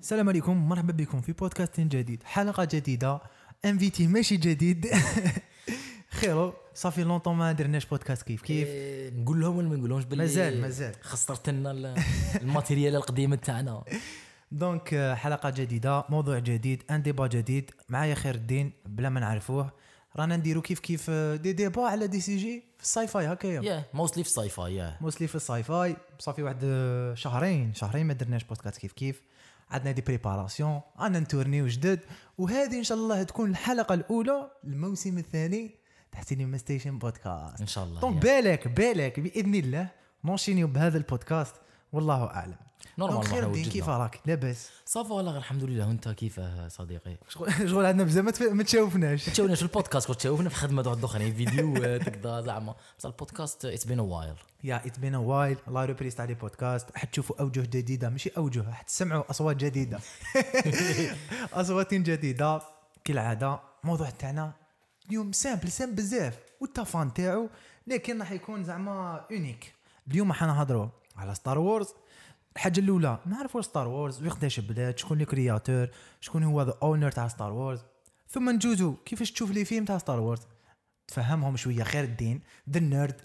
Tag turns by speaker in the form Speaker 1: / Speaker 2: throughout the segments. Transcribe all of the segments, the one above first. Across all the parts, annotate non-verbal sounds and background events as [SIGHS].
Speaker 1: السلام عليكم مرحبا بكم في بودكاست جديد حلقه جديده انفيتي ماشي جديد [LAUGHS] خيرو صافي لونطون ما درناش بودكاست كيف كيف
Speaker 2: إيه، نقول لهم ولا ما نقولهمش باللي
Speaker 1: مازال- مازال.
Speaker 2: خسرت لنا ال- [LAUGHS] الماتيريال القديمه
Speaker 1: [LAUGHS]
Speaker 2: تاعنا
Speaker 1: دونك آه، حلقه جديده موضوع جديد ان ديبا جديد معايا خير الدين بلا ما نعرفوه رانا نديرو كيف كيف آه، دي ديبا على دي سي جي في الساي فاي هكايا
Speaker 2: يا موستلي في الساي فاي يا
Speaker 1: موسلي في الساي فاي صافي واحد آه، شهرين شهرين ما درناش بودكاست كيف كيف عندنا دي بريباراسيون انا نتورنيو جدد وهذه ان شاء الله تكون الحلقه الاولى الموسم الثاني تحتيني ما ستيشن بودكاست
Speaker 2: ان شاء الله
Speaker 1: دونك
Speaker 2: يا.
Speaker 1: بالك بالك باذن الله نونشينيو بهذا البودكاست والله اعلم
Speaker 2: نورمال
Speaker 1: دونك خير
Speaker 2: مرحبا
Speaker 1: الدين
Speaker 2: وجدنا.
Speaker 1: كيف راك لاباس
Speaker 2: صافا والله الحمد لله وانت كيف صديقي
Speaker 1: شغل [LAUGHS] شغل عندنا بزاف ما تف- ما تشاوفناش
Speaker 2: تشاونا في البودكاست كنت تشاونا في خدمه واحد اخرين يعني فيديو آه، تقدر زعما بصح البودكاست اتس بين وايل
Speaker 1: يا ات بين وايل الله ريبريست على بودكاست حتشوفوا اوجه جديده ماشي اوجه حتسمعوا اصوات جديده اصوات جديده كالعاده الموضوع تاعنا اليوم سامبل سامبل بزاف والتفان تاعو لكن راح يكون زعما اونيك اليوم راح نهضروا على ستار وورز الحاجه الاولى نعرفوا ستار وورز ويقداش بدات شكون لي كرياتور شكون هو ذا اونر تاع ستار وورز ثم نجوزو كيفاش تشوف لي فيلم تاع ستار وورز تفهمهم شويه خير الدين ذا [LAUGHS] نيرد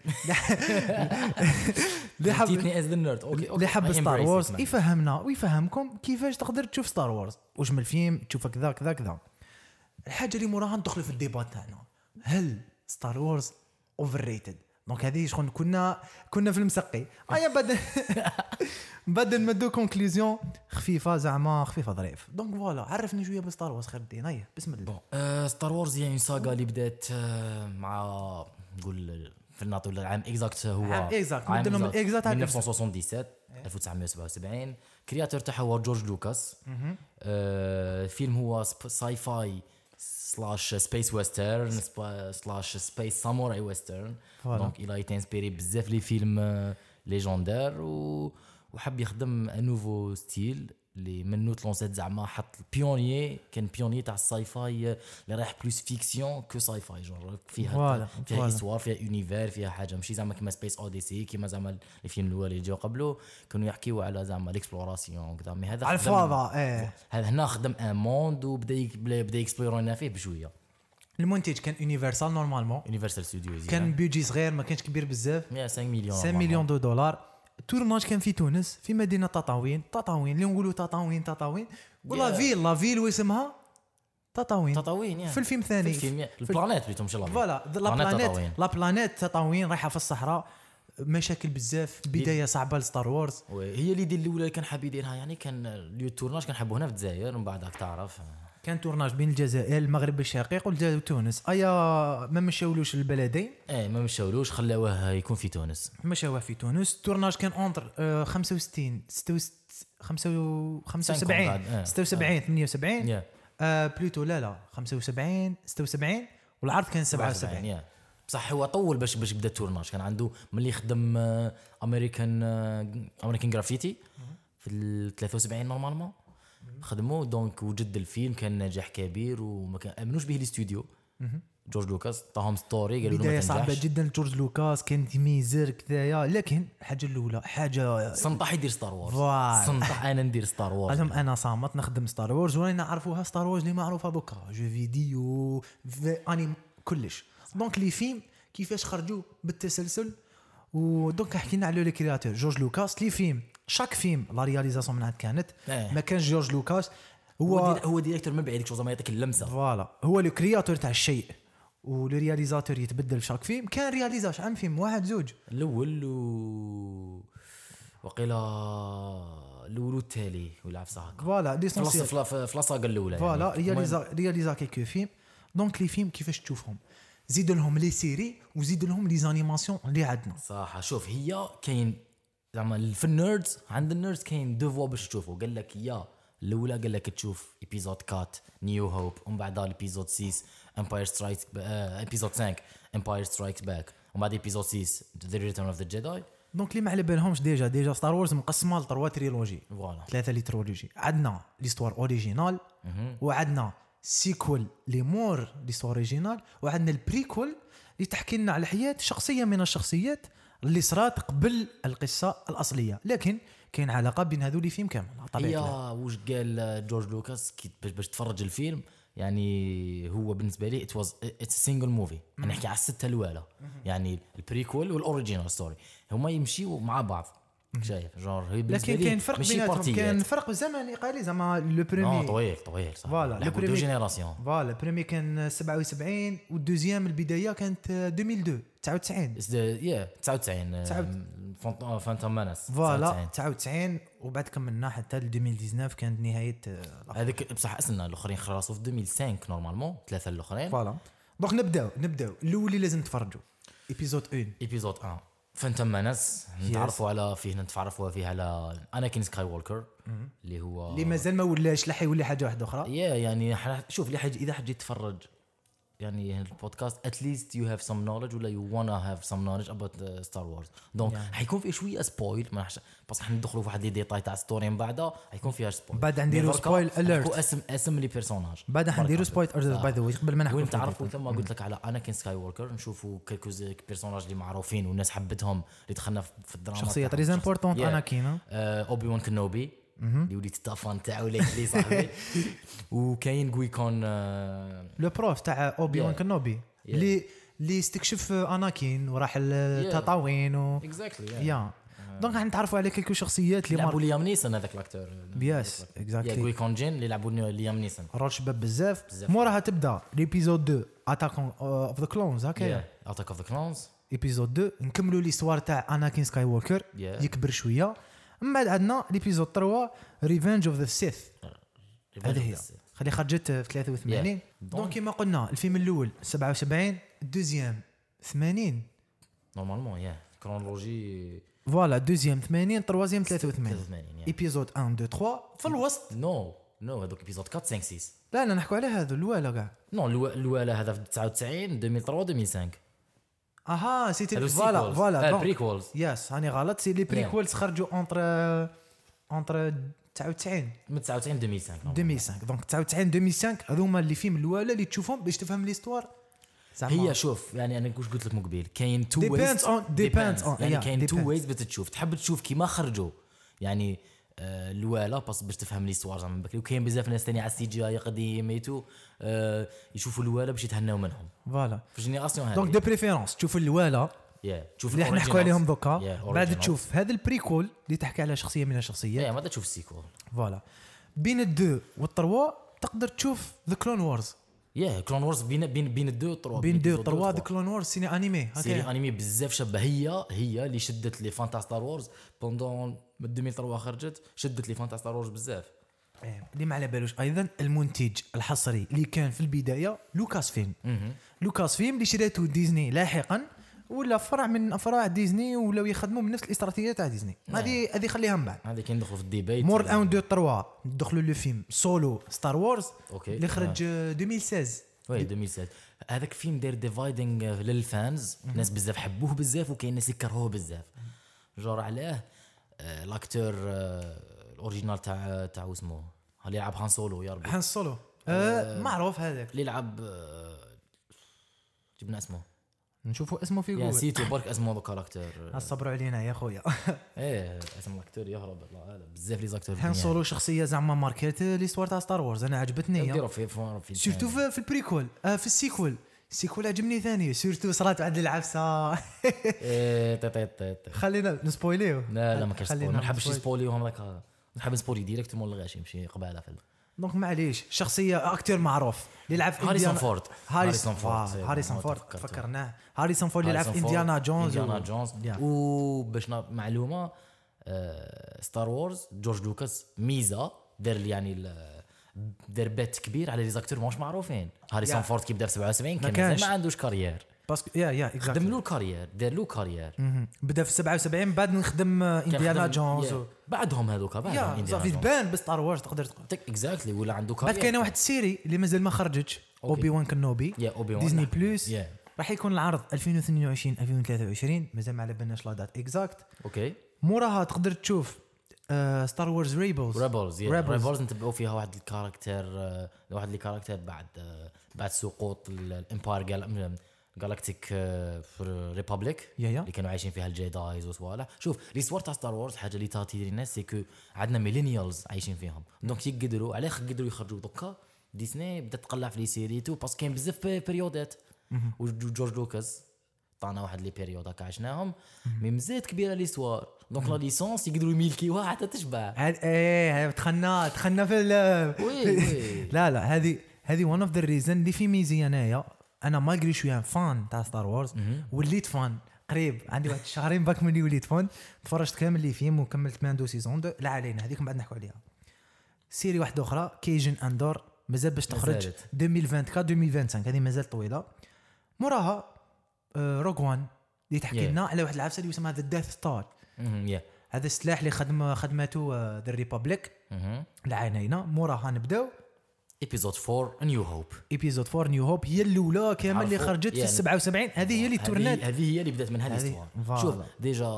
Speaker 1: اللي حب
Speaker 2: تيتني از ذا نيرد اوكي
Speaker 1: اللي حب ستار
Speaker 2: I embrace it,
Speaker 1: وورز
Speaker 2: man.
Speaker 1: يفهمنا ويفهمكم كيفاش تقدر تشوف ستار وورز واش من الفيلم تشوف كذا كذا كذا الحاجه اللي موراها ندخلوا في الديبات تاعنا هل ستار وورز اوفر ريتد دونك هذه شكون كنا كنا في المسقي ايا بعد [LAUGHS] بدل ما دو كونكليزيون خفيفه زعما خفيفه ظريف دونك فوالا عرفني شويه بستار وورز خير الدين ايا بسم الله
Speaker 2: ستار وورز آه، هي اون ساغا اللي بدات آه، مع نقول في الناط ولا العام اكزاكت هو
Speaker 1: عام exact. نبدأ من
Speaker 2: exact
Speaker 1: exact عام
Speaker 2: 1977 1977 كرياتور تاعها هو جورج لوكاس آه، الفيلم هو سب- ساي فاي سلاش سبيس ويسترن سبا- سلاش سبيس ساموراي ويسترن
Speaker 1: فوالا.
Speaker 2: دونك الى ايت انسبيري بزاف لي فيلم ليجوندير و وحب يخدم ان نوفو ستيل اللي منو تلونسات زعما حط البيونيي كان بيونيي تاع الساي فاي اللي رايح بلوس فيكسيون كو ساي فاي جونر
Speaker 1: فوالا،
Speaker 2: فيها فيها
Speaker 1: فوالا.
Speaker 2: ايستوار فيها اونيفير فيها حاجه ماشي زعما كيما سبيس اوديسي كيما زعما الفيلم الاول اللي جاو قبله كانوا يحكيو على زعما ليكسبلوراسيون كذا مي هذا
Speaker 1: على
Speaker 2: خدم-
Speaker 1: الفاضة، إيه.
Speaker 2: هذا هنا خدم ان موند وبدا يك- بدا يكسبلورينا فيه بشويه
Speaker 1: المنتج كان يونيفرسال نورمالمون
Speaker 2: يونيفرسال ستوديوز
Speaker 1: كان بيجي صغير ما كانش كبير بزاف
Speaker 2: 5 مليون
Speaker 1: 5 مليون دو دولار التورناج كان في تونس في مدينه تطاوين تطاوين اللي نقولوا تطاوين تطاوين ولا
Speaker 2: Yeah.
Speaker 1: فيل لا فيل واسمها تطاوين
Speaker 2: تطاوين يا.
Speaker 1: في الفيلم ثاني.
Speaker 2: في الفيلم يعني. يا.
Speaker 1: في-
Speaker 2: البلانيت بليتو مش الأرض.
Speaker 1: فوالا ذ- لا
Speaker 2: بلانيت
Speaker 1: بلانيت
Speaker 2: تطاوين.
Speaker 1: لا بلانيت تطاوين رايحه في الصحراء مشاكل بزاف بدايه صعبه لستار وورز
Speaker 2: وي، هي اللي ديال الاولى اللي كان حاب يديرها يعني كان لو تورناج كان حابه هنا في الجزائر من بعد راك تعرف
Speaker 1: كان تورناج بين الجزائر المغرب الشقيق والجزائر وتونس ايا ما مشاولوش البلدين
Speaker 2: ايه ما مشاولوش خلاوه يكون في تونس
Speaker 1: مشاوه في تونس التورناج كان اونتر آه، 65 76
Speaker 2: بعد، آه.
Speaker 1: 75 76 78
Speaker 2: يا.
Speaker 1: آه بلوتو لا لا 75 76 والعرض كان 77
Speaker 2: يا. بصح يعني. هو طول باش باش بدا التورناج كان عنده ملي خدم آه، امريكان امريكان جرافيتي في ال 73 نورمالمون خدموا دونك وجد الفيلم كان نجاح كبير وما كان امنوش به الاستوديو جورج لوكاس طاهم ستوري قالوا له
Speaker 1: بدايه
Speaker 2: ما
Speaker 1: صعبه
Speaker 2: تنجحش
Speaker 1: جدا لجورج لوكاس كان ميزر كذايا لكن الحاجه الاولى حاجه
Speaker 2: سنطح يدير ستار وورز
Speaker 1: فوالا.
Speaker 2: سنطح انا ندير ستار وورز
Speaker 1: قالهم انا صامت نخدم ستار وورز وانا نعرفوها ستار وورز اللي معروفه دوكا جو فيديو في انيم كلش دونك لي فيلم كيفاش خرجوا بالتسلسل ودونك حكينا على لو كرياتور جورج لوكاس لي فيلم شاك فيلم لا رياليزاسيون من عند كانت
Speaker 2: إيه.
Speaker 1: ما كانش جورج لوكاس
Speaker 2: هو
Speaker 1: هو
Speaker 2: دير- هو ديريكتور من بعيد زعما يعطيك اللمسه
Speaker 1: فوالا هو لو كرياتور تاع الشيء ولو رياليزاتور يتبدل في شاك فيلم كان رياليزاش عام فيلم واحد زوج
Speaker 2: الاول و وقيلا الاول والتالي ولا عفسه هكا
Speaker 1: فوالا
Speaker 2: في لاص-
Speaker 1: ليسونسيال
Speaker 2: في لا- في لاصاقه الاولى
Speaker 1: فوالا
Speaker 2: يعني. المهم،
Speaker 1: رياليزا رياليزا كيكو فيلم دونك لي فيلم كيفاش تشوفهم زيد لهم لي سيري وزيد لهم لي زانيماسيون اللي عندنا
Speaker 2: صراحه شوف هي كاين زعما في النيردز عند النيردز كاين دو فوا باش تشوفوا قال لك يا الاولى قال لك تشوف ايبيزود 4 نيو هوب ومن بعد ايبيزود 6 امباير سترايك ايبيزود 5 امباير سترايك باك ومن بعد ايبيزود 6 ذا ريتيرن اوف ذا جيداي
Speaker 1: دونك اللي ما على بالهمش ديجا ديجا ستار وورز مقسمه لتروا تريلوجي
Speaker 2: فوالا
Speaker 1: ثلاثه لي ترولوجي عندنا ليستوار اوريجينال وعندنا سيكول لي مور ليستوار اوريجينال وعندنا البريكول اللي تحكي لنا على حياه شخصيه من الشخصيات اللي صرات قبل القصه الاصليه لكن كاين علاقه بين هذول فيلم كامل على طبيعه الحال.
Speaker 2: يا وش قال جورج لوكاس كي- باش باش تفرج الفيلم يعني هو بالنسبه لي ات واز اتس سينجل موفي نحكي على السته الوالا يعني البريكول والاوريجينال ستوري هما يمشيوا مع بعض شايف جور هي بالنسبه
Speaker 1: لكن
Speaker 2: لي
Speaker 1: كاين فرق
Speaker 2: ماشي
Speaker 1: بيناتهم
Speaker 2: بارتيات.
Speaker 1: كاين فرق زمني قليل زعما لو
Speaker 2: نو
Speaker 1: برومي
Speaker 2: طويل طويل صح
Speaker 1: فوالا، لو
Speaker 2: لعبوا دو
Speaker 1: بريمي-
Speaker 2: جينيراسيون
Speaker 1: فوالا بريمي كان 77 والدوزيام البدايه كانت 2002 99
Speaker 2: It's the- yeah 99
Speaker 1: تسعة-
Speaker 2: فانتوم مانس
Speaker 1: فوالا 99 وبعد كملنا حتى ل 2019 كانت نهايه آه، الأخ-
Speaker 2: هذيك بصح اسنا الاخرين خلصوا في 2005 نورمالمون ثلاثه الاخرين
Speaker 1: فوالا دونك نبداو نبداو الاول اللي لازم تفرجوا ايبيزود 1
Speaker 2: ايبيزود 1 فانتوم مانس نتعرفوا على فيه نتعرفوا فيه على اناكين سكاي ووكر اللي هو
Speaker 1: اللي مازال ما ولاش لا حيولي حاجه واحده اخرى
Speaker 2: يا يعني ح- شوف اللي حاج اذا حجي تتفرج يعني البودكاست اتليست يو هاف سم نولج ولا يو وانا هاف سم نولج اباوت ستار وورز دونك حيكون فيه شويه سبويل ما نحش بس حندخلوا في واحد لي ديتاي تاع ستوري من بعدها حيكون فيها سبويل
Speaker 1: بعد حنديروا spoil alert.
Speaker 2: اسم اسم لي بيرسوناج
Speaker 1: بعد حنديروا سبويل
Speaker 2: آه.
Speaker 1: ارز باي ذا واي قبل ما نحكوا
Speaker 2: وين
Speaker 1: في الفيديو.
Speaker 2: تعرفوا ثم قلت لك على اناكين سكاي ووكر نشوفوا كيلكو بيرسوناج اللي معروفين والناس حبتهم اللي دخلنا في في الدراما
Speaker 1: شخصيات
Speaker 2: تاعهم.
Speaker 1: ريز امبورتونت
Speaker 2: آه، Yeah.
Speaker 1: انا كينا
Speaker 2: آه، اوبي وان كنوبي اللي وليت تافان تاعو ولا لي
Speaker 1: [LAUGHS]
Speaker 2: صاحبي وكاين جويكون آه،
Speaker 1: لو بروف تاع اوبي وان
Speaker 2: Yeah.
Speaker 1: كنوبي اللي اللي استكشف اناكين وراح التطاوين و
Speaker 2: اكزاكتلي
Speaker 1: يا دونك راح نتعرفوا على كيلكو شخصيات اللي
Speaker 2: يلعبوا
Speaker 1: مار
Speaker 2: ليام نيسون هذاك الاكتور
Speaker 1: يس
Speaker 2: يا
Speaker 1: اكزاكتلي
Speaker 2: جويكون جين اللي يلعبوا ليام نيسون
Speaker 1: رول شباب بزاف
Speaker 2: بزاف.
Speaker 1: موراها تبدا ليبيزود 2 اتاك اوف ذا كلونز هكا
Speaker 2: اتاك اوف ذا كلونز
Speaker 1: ايبيزود 2 نكملوا ليستوار تاع اناكين سكاي ووكر
Speaker 2: Yeah.
Speaker 1: يكبر شويه من بعد عندنا ليبيزود 3 ريفنج اوف ذا سيث هذه هي خلي خرجت في 83
Speaker 2: Yeah.
Speaker 1: دونك كيما قلنا الفيلم الاول 77 الدوزيام 80
Speaker 2: نورمالمون يا كرونولوجي
Speaker 1: فوالا الدوزيام 80 تروازيام 83
Speaker 2: 83 yeah.
Speaker 1: ايبيزود 1 2 3 في الوسط
Speaker 2: نو نو هذوك ايبيزود 4 5 6
Speaker 1: لا لا نحكوا على هذا الوالا كاع
Speaker 2: نو الوا- الوالا هذا في 99 2003 2005
Speaker 1: اها سيتي
Speaker 2: هذو
Speaker 1: فوالا
Speaker 2: sequels.
Speaker 1: فوالا
Speaker 2: آه،
Speaker 1: دونك.
Speaker 2: prequels.
Speaker 1: يس هاني غلط سي لي بريكولز خرجوا اونتر اونتر 99
Speaker 2: من 99 2005
Speaker 1: 2005 دونك 99 2005 هذوما اللي فيلم الوالا اللي تشوفهم باش تفهم ليستوار
Speaker 2: هي شوف يعني انا كوش قلت لك من قبيل كاين تو
Speaker 1: Depends
Speaker 2: ويز
Speaker 1: on- depends on-
Speaker 2: يعني
Speaker 1: yeah,
Speaker 2: كاين
Speaker 1: depends.
Speaker 2: تو ويز باش تشوف تحب تشوف كيما خرجوا يعني آه، الوالا بس باش تفهم ليستوار زعما من بكري وكاين بزاف ناس ثاني على السي جي اي قديم ايتو آه، يشوفوا الوالا باش يتهناو منهم
Speaker 1: فوالا
Speaker 2: في الجينيراسيون هذه
Speaker 1: دونك دو بريفيرونس تشوف الوالا
Speaker 2: Yeah. تشوف
Speaker 1: اللي احنا
Speaker 2: ال
Speaker 1: نحكوا عليهم
Speaker 2: originals.
Speaker 1: دوكا
Speaker 2: Yeah,
Speaker 1: بعد
Speaker 2: originals.
Speaker 1: تشوف هذا البريكول اللي تحكي على شخصيه من الشخصيات
Speaker 2: Yeah, ما تشوف السيكول
Speaker 1: فوالا بين الدو والتروا تقدر تشوف ذا كلون وورز
Speaker 2: يا كلون وورز بين بين بين الدو والتروا
Speaker 1: بين الدو
Speaker 2: الدو
Speaker 1: والتروا ذا كلون وورز سيني انيمي هكا.
Speaker 2: سيري انمي بزاف شابه هي هي اللي شدت لي فانتا ستار وورز بوندون من 2003 خرجت شدت لي فانتا ستار وورز بزاف
Speaker 1: إيه، اللي ما على بالوش ايضا المنتج الحصري اللي كان في البدايه لوكاس فيلم لوكاس فيلم اللي شريته ديزني لاحقا ولا فرع من افراع ديزني ولاو يخدموا بنفس الاستراتيجيه تاع ديزني هذه هذه خليها من بعد
Speaker 2: هذا كي ندخلوا في الديبيت
Speaker 1: مور 1 2 3 دخلوا لو فيلم سولو ستار وورز
Speaker 2: أوكي.
Speaker 1: اللي خرج آه، 2016
Speaker 2: وي 2007 هذاك فيلم داير ديفايدنج للفانز ناس بزاف حبوه بزاف وكاين ناس يكرهوه بزاف جور علاه آه، لاكتور آه، الاوريجينال تاع تاع اسمه اللي يلعب هان سولو يا ربي
Speaker 1: حان سولو آه معروف هذاك
Speaker 2: اللي يلعب آه، جبنا اسمه
Speaker 1: نشوفوا اسمه في
Speaker 2: يا
Speaker 1: جوجل
Speaker 2: نسيتو برك اسمه هذاك لاكتور
Speaker 1: [LAUGHS] صبروا علينا يا [LAUGHS] خويا
Speaker 2: ايه اسم لاكتور يهرب الله اعلم بزاف لي زاكتور
Speaker 1: هان سولو شخصيه زعما ماركات ليستوار تاع ستار وورز انا عجبتني يا.
Speaker 2: يديروا في في- في
Speaker 1: سيرتو في في البريكول آه في السيكول السيكول عجبني ثاني سيرتو صرات بعد العفسه
Speaker 2: إيه، طيط- طيط- طيط.
Speaker 1: [LAUGHS] خلينا نسبويليو
Speaker 2: لا لا ما كاش
Speaker 1: خلينا
Speaker 2: سبويل ما نحبش
Speaker 1: نسبويل.
Speaker 2: نسبوليهم هذاك نحب نسبولي ديريكت مول الغاشي يمشي قباله في ال-
Speaker 1: دونك معليش شخصيه اكتر معروف اللي يلعب في
Speaker 2: هاريسون
Speaker 1: إنديانا-
Speaker 2: فورد.
Speaker 1: هاريسون
Speaker 2: هاريسون
Speaker 1: فورد
Speaker 2: فورد.
Speaker 1: هاريسون
Speaker 2: ما
Speaker 1: فورد
Speaker 2: تفكرت.
Speaker 1: فكرناه هاريسون فورد اللي يلعب في
Speaker 2: هاريسون
Speaker 1: انديانا
Speaker 2: فورد،
Speaker 1: جونز و-
Speaker 2: انديانا جونز
Speaker 1: Yeah.
Speaker 2: وباش نا- معلومه آه، ستار وورز جورج لوكاس ميزه دار يعني ال- دار بات كبير على لي زاكتور ماهوش معروفين هاريسون
Speaker 1: Yeah.
Speaker 2: فورد كي بدا في 77
Speaker 1: ما
Speaker 2: كان مازال
Speaker 1: كانش.
Speaker 2: ما عندوش كارير
Speaker 1: باسكو يا يا exactly.
Speaker 2: خدم له كارير دار له كارير
Speaker 1: مهم. بدا في 77 بعد نخدم آه،
Speaker 2: كان
Speaker 1: انديانا
Speaker 2: خدم-
Speaker 1: جونز
Speaker 2: yeah.
Speaker 1: و-
Speaker 2: بعدهم هذوك بعدهم
Speaker 1: يا صافي
Speaker 2: انديانا
Speaker 1: تبان بستار وورز تقدر تقول
Speaker 2: اكزاكتلي ولا عنده كارير
Speaker 1: بعد كاين واحد السيري اللي مازال ما خرجتش
Speaker 2: آه، أوكي.
Speaker 1: اوبي وان كنوبي
Speaker 2: يا اوبي وان
Speaker 1: ديزني بلس
Speaker 2: يا
Speaker 1: راح يكون العرض 2022 2023 مازال ما على بالناش لا دات اكزاكت
Speaker 2: اوكي
Speaker 1: موراها تقدر تشوف ستار وورز ريبلز
Speaker 2: ريبلز يا
Speaker 1: Rebels.
Speaker 2: ريبلز نتبعوا فيها واحد الكاركتر آه، واحد الكاركتر بعد آه، بعد سقوط الامباير جالاكتيك ريبابليك
Speaker 1: يا يا.
Speaker 2: آه، اللي كانوا عايشين فيها الجيدايز وصوالح شوف الاسوار تاع ستار وورز حاجه اللي تاتي للناس سي كو عندنا ميلينيالز عايشين فيهم دونك يقدروا علاش قدروا يخرجوا دوكا ديزني بدات تقلع في لي سيري تو باسكو كاين بزاف بي- بيريودات وجورج لوكاس عطانا واحد لي بيريود هكا عشناهم مي مزيت كبيره ليستوار دونك لا ليسونس يقدروا يميلكيوها حتى تشبع
Speaker 1: عاد ايه هاد دخلنا دخلنا في [LAUGHS]
Speaker 2: وي
Speaker 1: ال
Speaker 2: وي
Speaker 1: لا لا هذه هذه ون اوف ذا ريزن اللي في ميزي انايا انا ما قري شويه فان تاع ستار وورز وليت فان قريب عندي واحد شهرين باك مني وليت فان تفرجت كامل لي فيلم وكملت ماندو سيزون دو لا علينا هذيك من بعد نحكوا عليها سيري واحده اخرى كيجن اندور مازال باش تخرج
Speaker 2: مازالت.
Speaker 1: 2024 2025 هذه مازال طويله موراها آه، روك وان اللي تحكي
Speaker 2: Yeah.
Speaker 1: لنا على واحد العفسه اللي يسمى ذا ديث ستار
Speaker 2: مهم، يا
Speaker 1: هذا السلاح اللي خدم آه، خدمته ذا ريبابليك
Speaker 2: مهم.
Speaker 1: العينينا موراها نبداو
Speaker 2: ايبيزود 4 نيو هوب
Speaker 1: ايبيزود 4 نيو هوب هي الاولى كامل اللي
Speaker 2: عرفوا،
Speaker 1: خرجت في
Speaker 2: يعني.
Speaker 1: 77 هذه هي اللي تورنات
Speaker 2: هذه هي اللي بدات منها
Speaker 1: هذه-
Speaker 2: الاستوار
Speaker 1: فوالا.
Speaker 2: شوف ديجا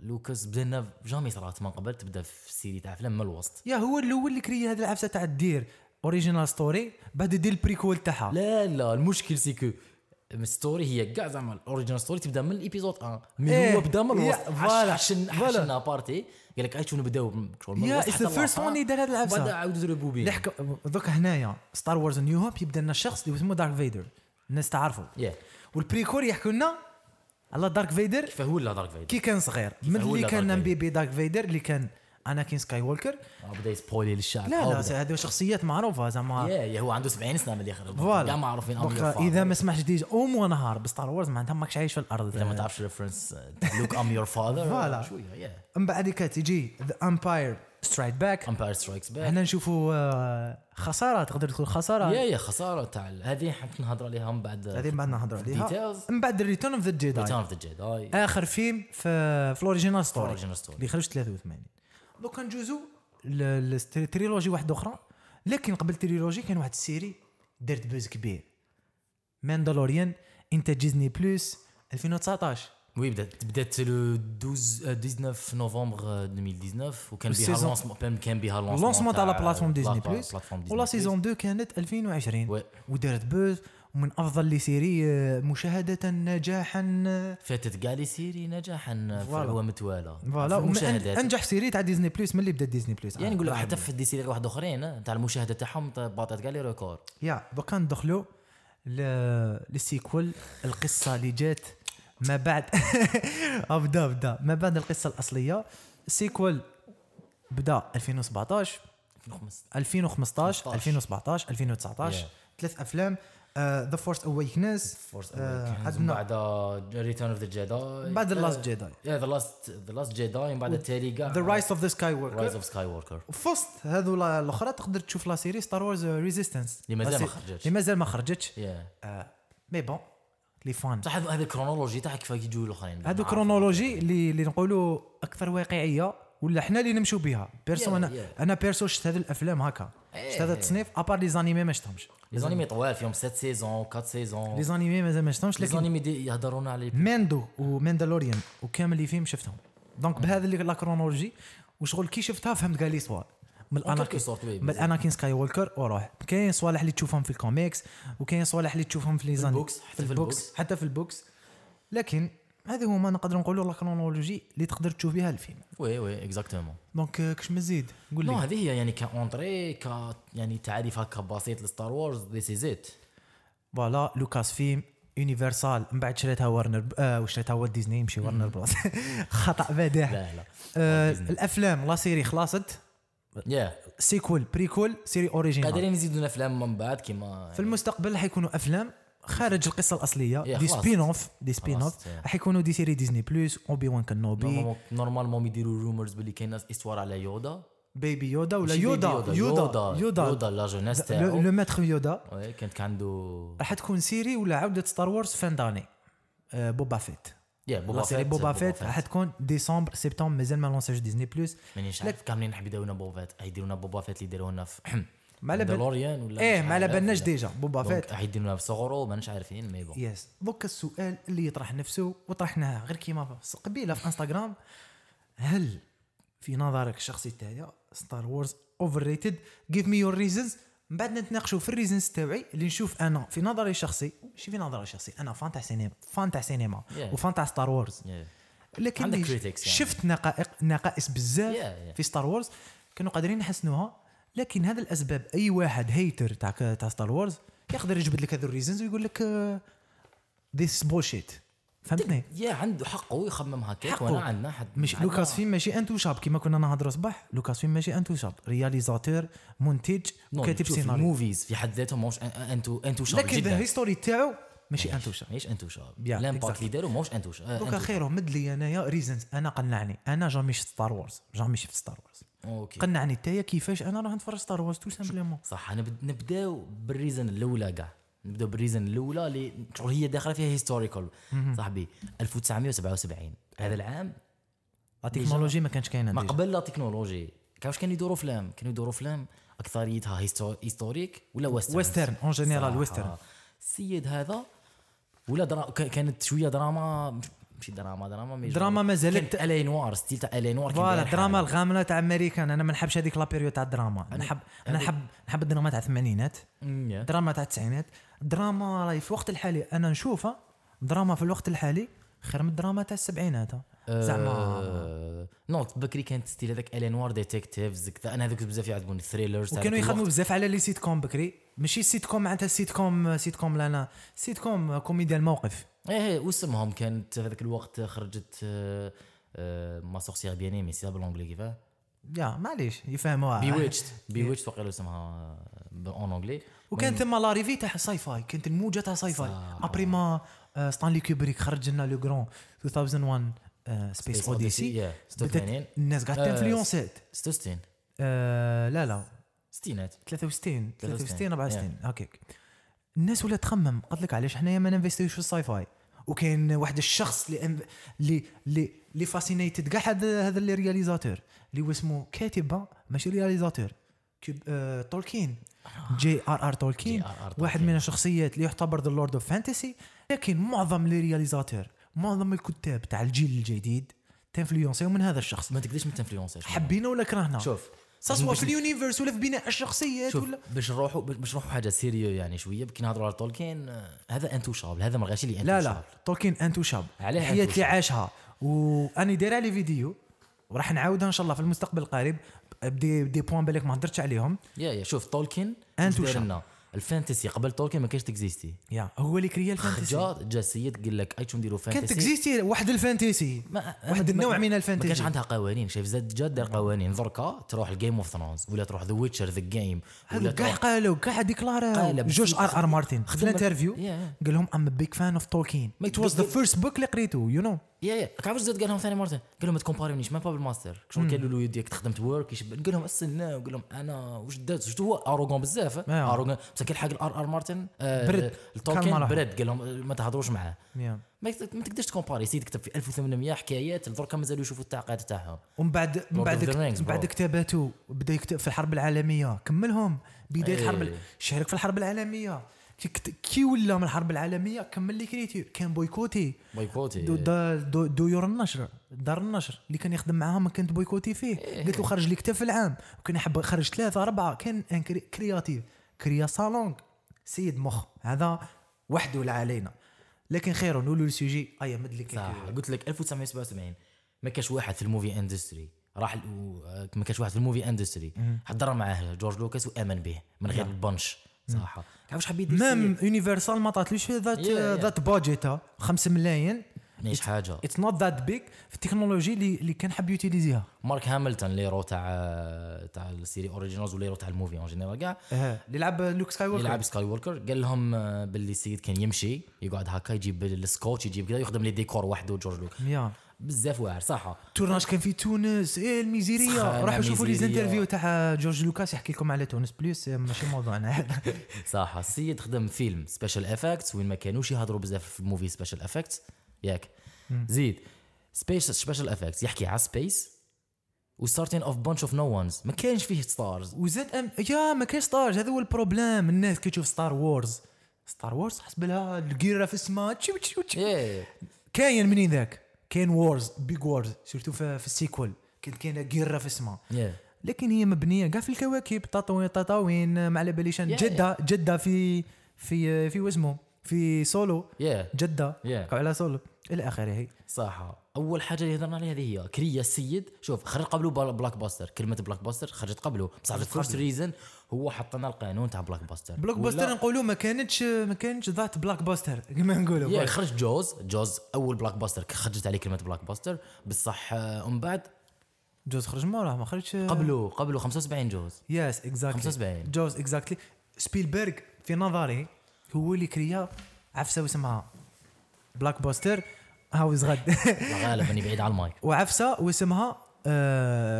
Speaker 2: لوكاس بدينا جامي صرات من قبل تبدا في سيري تاع افلام من الوسط
Speaker 1: يا هو الاول اللي كري هذه العفسه تاع الدير اوريجينال ستوري بعد يدير البريكول تاعها
Speaker 2: لا لا المشكل سيكو الستوري هي كاع زعما الاوريجينال ستوري تبدا من الابيزود 1 مي
Speaker 1: إيه.
Speaker 2: هو بدا من الوسط
Speaker 1: يا، فوالا،
Speaker 2: حشن
Speaker 1: فوالا.
Speaker 2: حشن بارتي قال لك عاد شو نبداو من شغل من
Speaker 1: يا،
Speaker 2: الوسط
Speaker 1: it's
Speaker 2: حتى
Speaker 1: the first
Speaker 2: الآخر،
Speaker 1: one اللي دار هاد العبسة.
Speaker 2: بعد عاودوا يضربوا بيه
Speaker 1: نحكي دوك هنايا ستار وورز نيو هوب يبدا لنا الشخص اللي اسمه دارك فيدر الناس تعرفوا
Speaker 2: يا.
Speaker 1: والبريكول يحكوا لنا على دارك فيدر
Speaker 2: كيفاه هو اللي دارك فيدر
Speaker 1: كي كان صغير من
Speaker 2: هو
Speaker 1: اللي
Speaker 2: لا
Speaker 1: كان
Speaker 2: دارك
Speaker 1: بي بي دارك فيدر اللي كان اناكين سكاي ووكر
Speaker 2: بدا يسبويلي للشعب آه،
Speaker 1: لا
Speaker 2: بدأ.
Speaker 1: لا هذو شخصيات معروفه زعما
Speaker 2: يا يا هو عنده 70 سنه ملي يخرج
Speaker 1: فوالا
Speaker 2: كاع ما عارفين
Speaker 1: دوكا
Speaker 2: أمير
Speaker 1: اذا
Speaker 2: فاضل.
Speaker 1: ما سمحش ديجا اومو نهار بستار وورز معناتها ماكش عايش في الارض
Speaker 2: اذا ما تعرفش آه، ريفرنس لوك ام يور فاذر
Speaker 1: إيه. [LAUGHS] فوالا.
Speaker 2: شويه يا
Speaker 1: من بعد كات يجي ذا امباير سترايك باك
Speaker 2: امباير سترايكس باك
Speaker 1: هنا نشوفوا آه، خساره تقدر تقول
Speaker 2: يا
Speaker 1: خساره
Speaker 2: يا خساره تاع ال- هذه حنت نهضر عليها من بعد
Speaker 1: هذه بعد نهضروا عليها
Speaker 2: Details.
Speaker 1: من بعد ريتيرن اوف ذا جيداي
Speaker 2: ريتيرن اوف ذا جيداي
Speaker 1: اخر فيلم في في الاوريجينال ستوري
Speaker 2: Original story.
Speaker 1: اللي خرج 83 دوكا نجوزوا للتريلوجي واحده اخرى لكن قبل التريلوجي كان واحد السيري دارت بوز كبير ماندالوريان انتاج ديزني بلس 2019
Speaker 2: وي بدات بدات لو 12 آه، 19 نوفمبر آه، 2019 وكان بها
Speaker 1: والسيزون-
Speaker 2: لونسمون كان بها لونسمون
Speaker 1: اللونسمون تاع لا بلاتفورم ديزني
Speaker 2: بلا-
Speaker 1: بلس
Speaker 2: بلاتفورم ديزني
Speaker 1: ولا
Speaker 2: بلس.
Speaker 1: سيزون 2 كانت 2020
Speaker 2: وي.
Speaker 1: ودارت بوز ومن افضل لي سيري آه، مشاهده نجاحا آه،
Speaker 2: فاتت كاع لي سيري نجاحا
Speaker 1: فوالا.
Speaker 2: هو متوالا
Speaker 1: فوالا ومن أن-
Speaker 2: مشاهدات
Speaker 1: انجح سيري تاع ديزني بلس من اللي بدا ديزني بلس
Speaker 2: يعني نقول لك حتى في دي سيري واحد اخرين آه، تاع المشاهده تاعهم ط- باطت كاع لي ريكور
Speaker 1: يا دوكا ندخلوا ل- للسيكول القصه اللي جات ما بعد [LAUGHS] آه، بدا بدا ما بعد القصه الاصليه السيكول بدا 2017 2015
Speaker 2: 2015
Speaker 1: 2017 2019
Speaker 2: Yeah.
Speaker 1: ثلاث آه، افلام ذا فورس اويكنس
Speaker 2: فورس
Speaker 1: عندنا-
Speaker 2: بعد آه، ريتيرن اوف ذا جيداي
Speaker 1: آه، بعد لاست جيداي
Speaker 2: يا ذا لاست ذا لاست جيداي من بعد التالي كاع
Speaker 1: ذا رايس اوف ذا سكاي
Speaker 2: رايز
Speaker 1: ووركر
Speaker 2: اوف سكاي ووركر
Speaker 1: فوسط هذو لا- الاخرى تقدر تشوف لا سيري ستار وورز ريزيستنس
Speaker 2: اللي مازال ما خرجتش.
Speaker 1: اللي مازال ما خرجتش
Speaker 2: يا
Speaker 1: مي بون لي فان
Speaker 2: صح هذا هذا الكرونولوجي تاع كيف يجوا الاخرين
Speaker 1: هادو كرونولوجي اللي اللي نقولوا اكثر واقعيه ولا حنا اللي نمشوا بها بيرسو
Speaker 2: Yeah,
Speaker 1: انا
Speaker 2: yeah.
Speaker 1: انا بيرسو شفت هذه الافلام هكا شفت هذا
Speaker 2: إيه. Oh.
Speaker 1: التصنيف ابار لي زانيمي ما شفتهمش
Speaker 2: لي زانيمي طوال فيهم 7 سيزون 4
Speaker 1: لي
Speaker 2: سيزون
Speaker 1: زانيمي مازال ما شفتهمش
Speaker 2: لي
Speaker 1: لكن نعم،
Speaker 2: زانيمي دي- يهضرون على
Speaker 1: ماندو وماندالوريان وكامل لي فيلم شفتهم دونك بهذا اللي لا كرونولوجي وشغل كي شفتها فهمت كاع لي سوا من
Speaker 2: quelque
Speaker 1: الاناكين
Speaker 2: sorte, oui,
Speaker 1: من
Speaker 2: بزاف.
Speaker 1: الاناكين سكاي وولكر وروح كاين صوالح اللي تشوفهم في الكوميكس وكاين صوالح اللي تشوفهم في لي زاني
Speaker 2: البوكس، حتى في البوكس.
Speaker 1: حتى في البوكس لكن هذا هما نقدر نقولوا لا كرونولوجي اللي تقدر تشوف بها الفيلم
Speaker 2: وي وي اكزاكتومون
Speaker 1: دونك آه، كش مزيد قول
Speaker 2: نو
Speaker 1: لي
Speaker 2: هذه هي يعني كاونتري ك يعني تعريف هكا بسيط لستار وورز ذيس از ات
Speaker 1: فوالا لوكاس فيلم يونيفرسال من بعد شريتها ورنر ب... آه وشريتها والت ديزني مشي ورنر [LAUGHS] بروس خطا بادح
Speaker 2: لا لا
Speaker 1: آه
Speaker 2: ديزني.
Speaker 1: الافلام لا سيري خلاصت
Speaker 2: يا
Speaker 1: سيكول بريكول سيري اوريجينال
Speaker 2: قادرين يزيدون افلام من بعد كيما
Speaker 1: في المستقبل حيكونوا افلام خارج القصه الاصليه
Speaker 2: إيه،
Speaker 1: دي
Speaker 2: خلاص.
Speaker 1: سبين اوف دي سبين
Speaker 2: خلاص،
Speaker 1: اوف
Speaker 2: إيه.
Speaker 1: حيكونوا دي سيري ديزني بلس اوبي وان كنوبي
Speaker 2: نورمالمون- نورمالمون يديروا رومرز باللي كاين استوار على يودا
Speaker 1: بيبي يودا ولا
Speaker 2: ماشي
Speaker 1: يودا
Speaker 2: بيبي يودا
Speaker 1: يودا
Speaker 2: يودا لا جوناس
Speaker 1: لو
Speaker 2: تاعو
Speaker 1: لو ماتر يودا
Speaker 2: وي، كانت كان عنده
Speaker 1: راح تكون سيري ولا عوده ستار وورز فان داني آه، بوبا فيت
Speaker 2: يا
Speaker 1: لا
Speaker 2: بوبا
Speaker 1: سيري
Speaker 2: فيت
Speaker 1: بوبا فيت راح تكون ديسمبر سبتمبر مازال ما لونساش ديزني بلس
Speaker 2: مانيش عارف كاملين راح يديرونا بوبا فيت يديرونا بوبا فيت اللي دارونا في [CLEARS THROAT]
Speaker 1: ما على بال-
Speaker 2: دلوريان ولا
Speaker 1: ايه
Speaker 2: مش
Speaker 1: ما على
Speaker 2: عارف
Speaker 1: بالناش
Speaker 2: ولا-
Speaker 1: ديجا بوبا
Speaker 2: دونك
Speaker 1: فيت
Speaker 2: راح يديرونا في صغره مانيش عارفين مي بون
Speaker 1: يس دوك السؤال اللي يطرح نفسه وطرحناه غير كيما في- قبيله في انستغرام هل في نظرك الشخصي تاعي ستار وورز اوفر ريتد جيف مي يور ريزنز من بعد نتناقشوا في الريزنس تاعي اللي نشوف انا في نظري الشخصي شي في نظري الشخصي انا فان تاع سينما فان تاع سينما
Speaker 2: Yeah.
Speaker 1: وفان تاع ستار وورز
Speaker 2: Yeah.
Speaker 1: لكن
Speaker 2: عندك
Speaker 1: اللي
Speaker 2: critics يعني.
Speaker 1: شفت نقائق نقائص بزاف
Speaker 2: Yeah, yeah.
Speaker 1: في ستار وورز كانوا قادرين يحسنوها لكن هذا الاسباب اي واحد هيتر تاع تاع ستار وورز يقدر يجبد لك هذو الريزنز ويقول لك "Uh, ذيس بولشيت فهمتني
Speaker 2: يا عنده حقه يخمم هكاك
Speaker 1: حقه.
Speaker 2: وانا عندنا حد
Speaker 1: مش
Speaker 2: عندنا-
Speaker 1: لوكاس فيلم ماشي انتوشاب كيما كنا نهضروا صباح لوكاس فيلم ماشي انتوشاب رياليزاتور منتج
Speaker 2: نو،
Speaker 1: وكاتب
Speaker 2: شوف
Speaker 1: سيناريو
Speaker 2: الموفيز في حد ذاتهم ماهوش أن- انتو انتو شاب
Speaker 1: لكن ذا
Speaker 2: جدا
Speaker 1: هيستوري تاعو ماشي انتوشاب
Speaker 2: ماهيش انتو شاب
Speaker 1: Yeah,
Speaker 2: الامباكت
Speaker 1: exactly.
Speaker 2: اللي داروا ماهوش انتو شاب
Speaker 1: دوكا خيره مد لي انايا ريزنز انا قنعني انا جامي شفت ستار وورز جامي شفت ستار وورز
Speaker 2: اوكي
Speaker 1: قنعني نتايا كيفاش انا راه نتفرج ستار وورز تو سامبلومون
Speaker 2: صح نبد- نبداو بالريزن الاولى كاع نبداو بالريزن الاولى اللي شغل هي داخله فيها هيستوريكال صاحبي 1977 هذا العام
Speaker 1: لا تكنولوجي ما كانش كاينه
Speaker 2: ما
Speaker 1: ديجا
Speaker 2: قبل لا تكنولوجي كان واش كانوا يدوروا افلام كانوا يدوروا افلام اكثريتها هيستو- هيستوريك ولا ويسترن
Speaker 1: ويسترن، en général
Speaker 2: صراحة.
Speaker 1: ويسترن.
Speaker 2: السيد هذا ولا درا... ك- كانت شويه دراما مش- ماشي دراما دراما مي
Speaker 1: دراما
Speaker 2: شغل-
Speaker 1: مازالت-
Speaker 2: كان الي نوار ستيل تاع الي نوار كي
Speaker 1: فوالا
Speaker 2: داير
Speaker 1: الدراما
Speaker 2: حالة.
Speaker 1: الغامله تاع امريكان انا ما نحبش هذيك لابيريود تاع الدراما انا نحب انا نحب نحب الدراما تاع الثمانينات
Speaker 2: أمم، يا.
Speaker 1: دراما تاع التسعينات دراما راهي في الوقت الحالي انا نشوفها دراما في الوقت الحالي خير من الدراما تاع السبعينات زعما
Speaker 2: آه، نو بكري كانت ستيل هذاك الي نوار ديتكتيفز كذا. انا هذوك بزاف يعجبوني الثريلرز تاع
Speaker 1: وكانوا
Speaker 2: ذاك
Speaker 1: يخدموا
Speaker 2: الوقت.
Speaker 1: بزاف على لي سيت كوم بكري ماشي سيت كوم معناتها سيت كوم سيت كوم لا لا سيت كوم كوميديا الموقف
Speaker 2: ايه إيه، واسمهم كانت في هذاك الوقت خرجت آه، آه، ما سورسيير بيان ايمي سي بالونجلي كيفاه
Speaker 1: يا معليش يفهموها
Speaker 2: بيويتشت بيويتشت وقيلا اسمها آه، اون اونجلي
Speaker 1: وكان ثم لاريفي تاع ساي فاي كانت الموجه تاع ساي فاي ابري ما آه، ستانلي كوبريك خرج لنا لو غران 2001
Speaker 2: إيه،
Speaker 1: سبيس اوديسي
Speaker 2: 86
Speaker 1: آه، الناس قاعد
Speaker 2: آه،
Speaker 1: تنفلونسات
Speaker 2: 66
Speaker 1: آه، لا لا
Speaker 2: ستينات
Speaker 1: 63 63
Speaker 2: 63.
Speaker 1: 64 هكاك الناس ولات تخمم قالت لك علاش حنايا ما ننفستيوش في الساي فاي وكاين واحد الشخص اللي أنف- اللي اللي اللي فاسينيتد كاع هذا هذا اللي رياليزاتور اللي هو اسمه كاتبه ماشي رياليزاتور كيب آه تولكين
Speaker 2: آه.
Speaker 1: جي ار ار تولكين
Speaker 2: J.R.R. تولكين.
Speaker 1: واحد من الشخصيات اللي يعتبر ذا لورد اوف فانتسي لكن معظم لي رياليزاتور معظم الكتاب تاع الجيل الجديد تنفلونسيو من هذا الشخص
Speaker 2: ما تقدرش ما تنفلونساش
Speaker 1: حبينا ولا كرهنا
Speaker 2: شوف
Speaker 1: سواء
Speaker 2: آه. باش-
Speaker 1: في اليونيفرس ولا في بناء الشخصيات
Speaker 2: شوف
Speaker 1: ولا
Speaker 2: باش نروحوا باش نروحوا حاجه سيريو يعني شويه كي نهضروا على تولكين آه، هذا انتوشابل هذا ما غاش اللي
Speaker 1: لا
Speaker 2: انتوشابل
Speaker 1: لا تولكين انتوشاب
Speaker 2: عليه
Speaker 1: الحياه
Speaker 2: أنتوشاب.
Speaker 1: اللي عاشها واني داير عليه فيديو وراح نعاودها ان شاء الله في المستقبل القريب بدي دي بوان بالك ما هضرتش عليهم
Speaker 2: يا يا شوف تولكين
Speaker 1: أنت
Speaker 2: واش دار
Speaker 1: وشاب.
Speaker 2: لنا؟ الفانتسي قبل تولكين ما كانش تكزيستي
Speaker 1: يا هو اللي كريا الفانتسي
Speaker 2: جا جا السيد قال لك ايش نديروا
Speaker 1: كانت
Speaker 2: فانتسي
Speaker 1: تكزيستي واحد الفانتسي
Speaker 2: ما
Speaker 1: واحد
Speaker 2: ما-
Speaker 1: النوع من
Speaker 2: ما كانش
Speaker 1: الفانتسي
Speaker 2: عندها قوانين شايف زاد جا دار قوانين دركا تروح الجيم اوف ثرونز ولا تروح ذا ويتشر ذا جيم ولا
Speaker 1: هذو كاع
Speaker 2: تروح
Speaker 1: قالوا كاع ديكلارا
Speaker 2: قالب.
Speaker 1: جورج ار ار مارتن في
Speaker 2: خدم-
Speaker 1: الانترفيو
Speaker 2: Yeah.
Speaker 1: قال لهم ام بيج فان اوف تولكين
Speaker 2: ما
Speaker 1: ات واز ذا
Speaker 2: يتقدر-
Speaker 1: فيرست بوك اللي قريته يو نو
Speaker 2: يا يا عرفت زاد قال لهم ثاني مره قال لهم ما تكومباريونيش ما با بالماستر شغل قالوا له يديك خدمت ورك يشبه قال لهم استنى وقال لهم انا واش درت واش هو اروغون بزاف
Speaker 1: آه.
Speaker 2: اروغون بصح كل حاجه الار ار مارتن
Speaker 1: برد. كان
Speaker 2: التولكين
Speaker 1: مرة.
Speaker 2: برد قال لهم ما تهضروش معاه ما يقدر- ما تقدرش تكومباري سيد كتب في 1800 حكايات دركا مازالوا يشوفوا التعقيد تاعهم
Speaker 1: ومن بعد من
Speaker 2: Lord
Speaker 1: بعد
Speaker 2: of the Rings,
Speaker 1: من بعد
Speaker 2: bro.
Speaker 1: كتاباته بدا يكتب في الحرب العالميه كملهم بدايه
Speaker 2: إيه.
Speaker 1: الحرب ال- شارك في الحرب العالميه كي كت- كي ولا من الحرب العالميه كمل لي كريتير كان بويكوتي
Speaker 2: بايكوتي
Speaker 1: دو دا- دو- ديور النشر دار النشر اللي كان يخدم معاهم كانت بويكوتي فيه
Speaker 2: إيه.
Speaker 1: قلت له خرج لي كتاب في العام وكان يحب خرج ثلاثه اربعه كان ان كري- كرياتيف كريا صالونغ سيد مخ هذا وحده لا علينا لكن خير نقولوا السوجي ايا مد لك
Speaker 2: صح قلت لك 1977 ما كاش واحد في الموفي اندستري راح ال- و- آه، ما كاش واحد في الموفي اندستري حضر معاه جورج لوكاس وامن به من
Speaker 1: نعم.
Speaker 2: غير البنش صح تعرف شحال بيدير سيد؟
Speaker 1: ميم يونيفرسال ما طاتلوش ذات
Speaker 2: Yeah, yeah.
Speaker 1: ذات بادجيت 5 ملايين
Speaker 2: ماشي حاجه
Speaker 1: اتس نوت ذات بيج في التكنولوجي اللي اللي كان حاب يوتيليزيها
Speaker 2: مارك هاملتون ليرو تاع تاع السيري اوريجينالز وليرو تاع الموفي اون جينيرال كاع
Speaker 1: اه اللي يلعب لوك سكاي ووركر
Speaker 2: يلعب سكاي ووركر قال لهم آه، باللي السيد كان يمشي يقعد هكا يجيب السكوتش يجيب كذا يخدم لي ديكور وحده جورج لوكاس
Speaker 1: يا
Speaker 2: بزاف واعر صح
Speaker 1: تورناج كان في تونس ايه الميزيريه
Speaker 2: سخانة،
Speaker 1: روحوا شوفوا لي
Speaker 2: ميزيرية.
Speaker 1: زانترفيو تاع جورج لوكاس يحكي لكم على تونس بلوس آه، ماشي موضوعنا [LAUGHS] هذا
Speaker 2: صح السيد خدم فيلم سبيشال افكتس وين ما كانوش يهضروا بزاف في الموفي سبيشال افكتس ياك زيد سبيشال سبيشال افكتس يحكي على سبيس وستارتين اوف بانش اوف نو وانز ما كانش فيه ستارز
Speaker 1: وزاد أم... يا ما كاينش ستارز هذا هو البروبليم الناس كي تشوف ستار وورز ستار وورز حسب لها القيره في السماء تشو تشو تشو كاين منين ذاك كاين وورز بيج وورز سورتو في, في السيكول كانت كاينه قيره في السماء
Speaker 2: Yeah.
Speaker 1: لكن هي مبنيه كاع في الكواكب تطاوين تطاوين ما على باليش أنا.
Speaker 2: Yeah,
Speaker 1: جده جده في في في واسمه في سولو
Speaker 2: يا
Speaker 1: جده
Speaker 2: Yeah.
Speaker 1: على سولو الى اخره
Speaker 2: صح اول حاجه اللي هضرنا عليها هذه هي كريا السيد شوف خرج قبله بل- بلاك باستر كلمه بلاك باستر خرجت قبله بصح الفيرست ريزن هو حطنا القانون تاع بلاك باستر
Speaker 1: بلوك
Speaker 2: ولا-
Speaker 1: باستر نقولوا ما كانتش ما كانتش ذات بلاك باستر كما نقولوا
Speaker 2: يا خرج جوز جوز اول بلاك باستر خرجت عليه كلمه بلاك باستر بصح آه، من بعد
Speaker 1: جوز خرج موراه ما خرجش
Speaker 2: قبله قبله 75 جوز
Speaker 1: يس اكزاكتلي
Speaker 2: 75.
Speaker 1: جوز اكزاكتلي سبيلبرغ في نظري هو اللي كريا عفسه واسمها بلاك باستر هاوز غد [LAUGHS]
Speaker 2: لا، غالبا اني بعيد على المايك
Speaker 1: وعفسه واسمها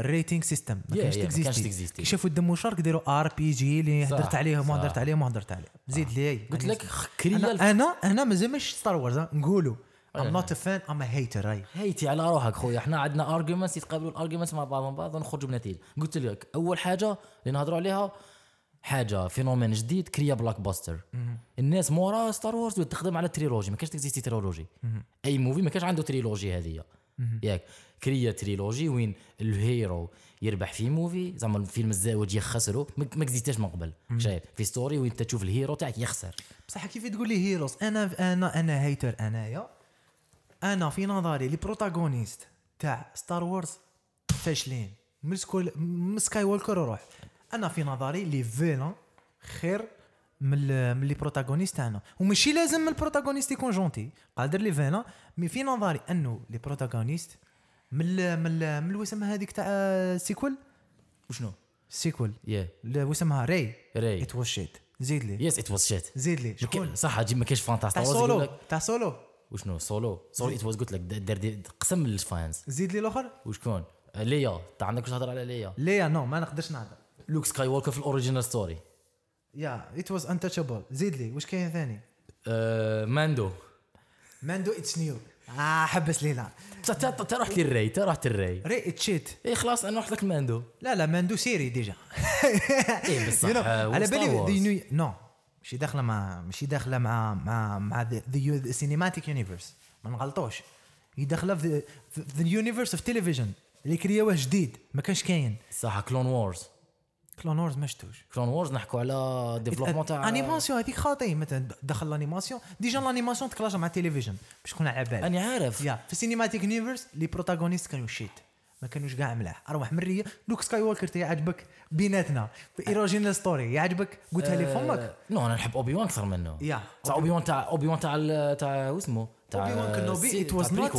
Speaker 1: ريتينغ سيستم
Speaker 2: Yeah,
Speaker 1: ما كانش
Speaker 2: yeah, ما كانش
Speaker 1: تكزيستي
Speaker 2: تكزيستي.
Speaker 1: شافوا الدم وشرك ديروا ار بي جي اللي
Speaker 2: صح،
Speaker 1: هدرت عليهم
Speaker 2: صح.
Speaker 1: وهدرت عليهم وهدرت عليهم زيد لي
Speaker 2: قلت لك كريا
Speaker 1: انا انا, أنا مازال مش ستار وورز نقولوا I'm
Speaker 2: أنا- نعم.
Speaker 1: not a fan I'm a hater راي
Speaker 2: هيتي على روحك خويا احنا عندنا ارجيومنتس يتقابلوا الارجيومنتس مع بعضهم بعض ونخرجوا بنتيجه قلت لك اول حاجه اللي نهضروا عليها حاجه فينومين جديد كريا بلاك باستر الناس مورا ستار وورز تخدم على تريلوجي ما كانش تكزيستي تريلوجي اي موفي ما كانش عنده تريلوجي هذه ياك كريا تريلوجي وين الهيرو يربح في موفي زعما الفيلم الزاوج يخسره ما ما كزيتاش من قبل شايف في ستوري وين تشوف الهيرو تاعك يخسر
Speaker 1: بصح كيف تقول لي هيروز انا انا انا هيتر انايا انا في نظري لي بروتاغونيست تاع ستار وورز فاشلين من سكول من سكاي وولكر وروح انا في نظري لي فيلان خير من ال- من لي بروتاغونيست تاعنا وماشي لازم البروتاغونيست يكون جونتي قادر لي فيلان مي في نظري انه لي بروتاغونيست من ال من ال من الوسم هذيك تاع آه، سيكول
Speaker 2: وشنو؟
Speaker 1: سيكول
Speaker 2: يا
Speaker 1: وسمها راي
Speaker 2: راي.
Speaker 1: ات واز شيت زيد لي
Speaker 2: يس ات واز شيت
Speaker 1: زيد لي شكون
Speaker 2: صح جي ما كانش فانتاستيك
Speaker 1: تاع سولو تاع سولو
Speaker 2: وشنو سولو سولو ات واز قلت لك دار دي- قسم للفانز
Speaker 1: زيد لي الاخر
Speaker 2: وشكون ليا انت عندك واش تهضر على ليا
Speaker 1: ليا نو ما نقدرش نهضر
Speaker 2: لوك سكاي ووكر في الاوريجينال ستوري
Speaker 1: يا ات واز انتشابل زيد لي واش كاين ثاني
Speaker 2: آه، ماندو
Speaker 1: ماندو اتس نيو اه حبس لينا
Speaker 2: تا- تا تا رحت للري تا رحت للري
Speaker 1: ري تشيت
Speaker 2: اي خلاص انا رحت لك ماندو
Speaker 1: لا لا ماندو سيري ديجا
Speaker 2: اي بصح
Speaker 1: You know,
Speaker 2: آه،
Speaker 1: على
Speaker 2: Star
Speaker 1: بالي
Speaker 2: Wars.
Speaker 1: دي نيو نو ماشي داخله مع ماشي داخله مع مع مع ذا سينيماتيك يونيفرس ما نغلطوش هي داخله في ذا يونيفرس اوف تلفزيون اللي كريوه جديد ما كانش كاين
Speaker 2: صح كلون وورز
Speaker 1: كلون وورز ما شفتوش
Speaker 2: كلون وورز نحكوا على ديفلوبمون تاع
Speaker 1: انيماسيون هذيك خاطي مثلا دخل الانيماسيون ديجا الانيماسيون تكلاش مع التلفزيون باش تكون على بالك
Speaker 2: انا عارف
Speaker 1: يا في السينيماتيك يونيفرس لي بروتاغونيست كانوا شيت ما كانوش كاع ملاح اروح من ريا لوك سكاي ووكر تي عجبك بيناتنا في ايروجين ستوري يعجبك قلتها لي فمك
Speaker 2: آه، نو انا نحب اوبي وان اكثر منه
Speaker 1: يا.
Speaker 2: تاع اوبي وان تاع اوبي وان تاع ال- تاع واسمه تاع
Speaker 1: اوبي وان كنوبي ات واز نوت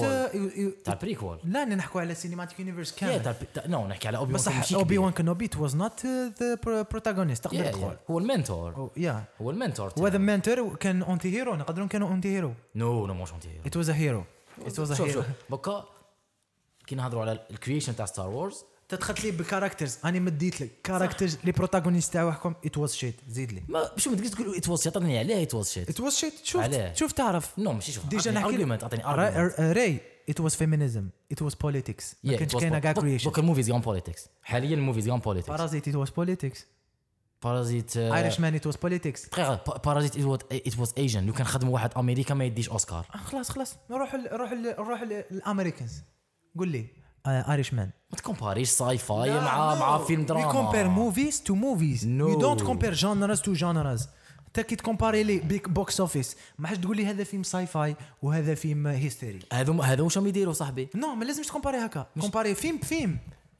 Speaker 2: تاع البريكول
Speaker 1: آه، لا أنا نحكوا على السينيماتيك يونيفرس
Speaker 2: يا
Speaker 1: كامل
Speaker 2: تاع الب- تاع- نو نحكي على اوبي وان
Speaker 1: بصح اوبي وان كنوبي ات واز نوت ذا بروتاغونيست تقدر تقول
Speaker 2: هو المنتور
Speaker 1: أو- يا
Speaker 2: هو المنتور تاعو.
Speaker 1: وذا منتور كان اونتي هيرو نقدروا كانوا اونتي هيرو
Speaker 2: نو نو مش انتي
Speaker 1: ات واز ا هيرو ات واز ا
Speaker 2: شوف
Speaker 1: هيرو
Speaker 2: شوف بكا كي نهضروا على الكريشن تاع ستار وورز
Speaker 1: تدخلت لي بالكاركترز انا مديت لك كاركترز لي بروتاغونيست تاعهم ات واز شيت زيد لي
Speaker 2: ما شو ما تقدرش تقول ات واز عطني عليه ات واز شيت
Speaker 1: ات واز شيت شوف
Speaker 2: علاه؟
Speaker 1: شوف تعرف
Speaker 2: نو ماشي شوف
Speaker 1: ديجا نحكي
Speaker 2: ارجيومنت اعطيني ارجيومنت
Speaker 1: را- راي ات واز فيمينيزم ات واز بوليتكس ما كانش كاينه كاع كريشن
Speaker 2: دوك الموفيز غان بوليتكس حاليا الموفيز غان بوليتكس
Speaker 1: بارازيت ات واز بوليتكس
Speaker 2: بارازيت
Speaker 1: ايرش مان ات واز بوليتكس
Speaker 2: دقيقه بارازيت ات واز ايجن لو كان خدم واحد امريكا ما يديش اوسكار
Speaker 1: خلاص خلاص نروح نروح نروح للامريكانز قول لي آه، ايرش مان
Speaker 2: ما تكومباريش ساي فاي
Speaker 1: Ah,
Speaker 2: مع مع فيلم دراما
Speaker 1: وي كومبير موفيز تو موفيز
Speaker 2: No.
Speaker 1: وي دونت كومبير جانرز تو جانرز انت كي تكومباري لي بيك بوكس اوفيس ما حدش تقول لي هذا فيلم ساي فاي وهذا فيلم هيستيري
Speaker 2: هذو هذو واش راهم يديروا صاحبي
Speaker 1: نو ما لازمش تكومباري هكا كومباري فيلم بفيلم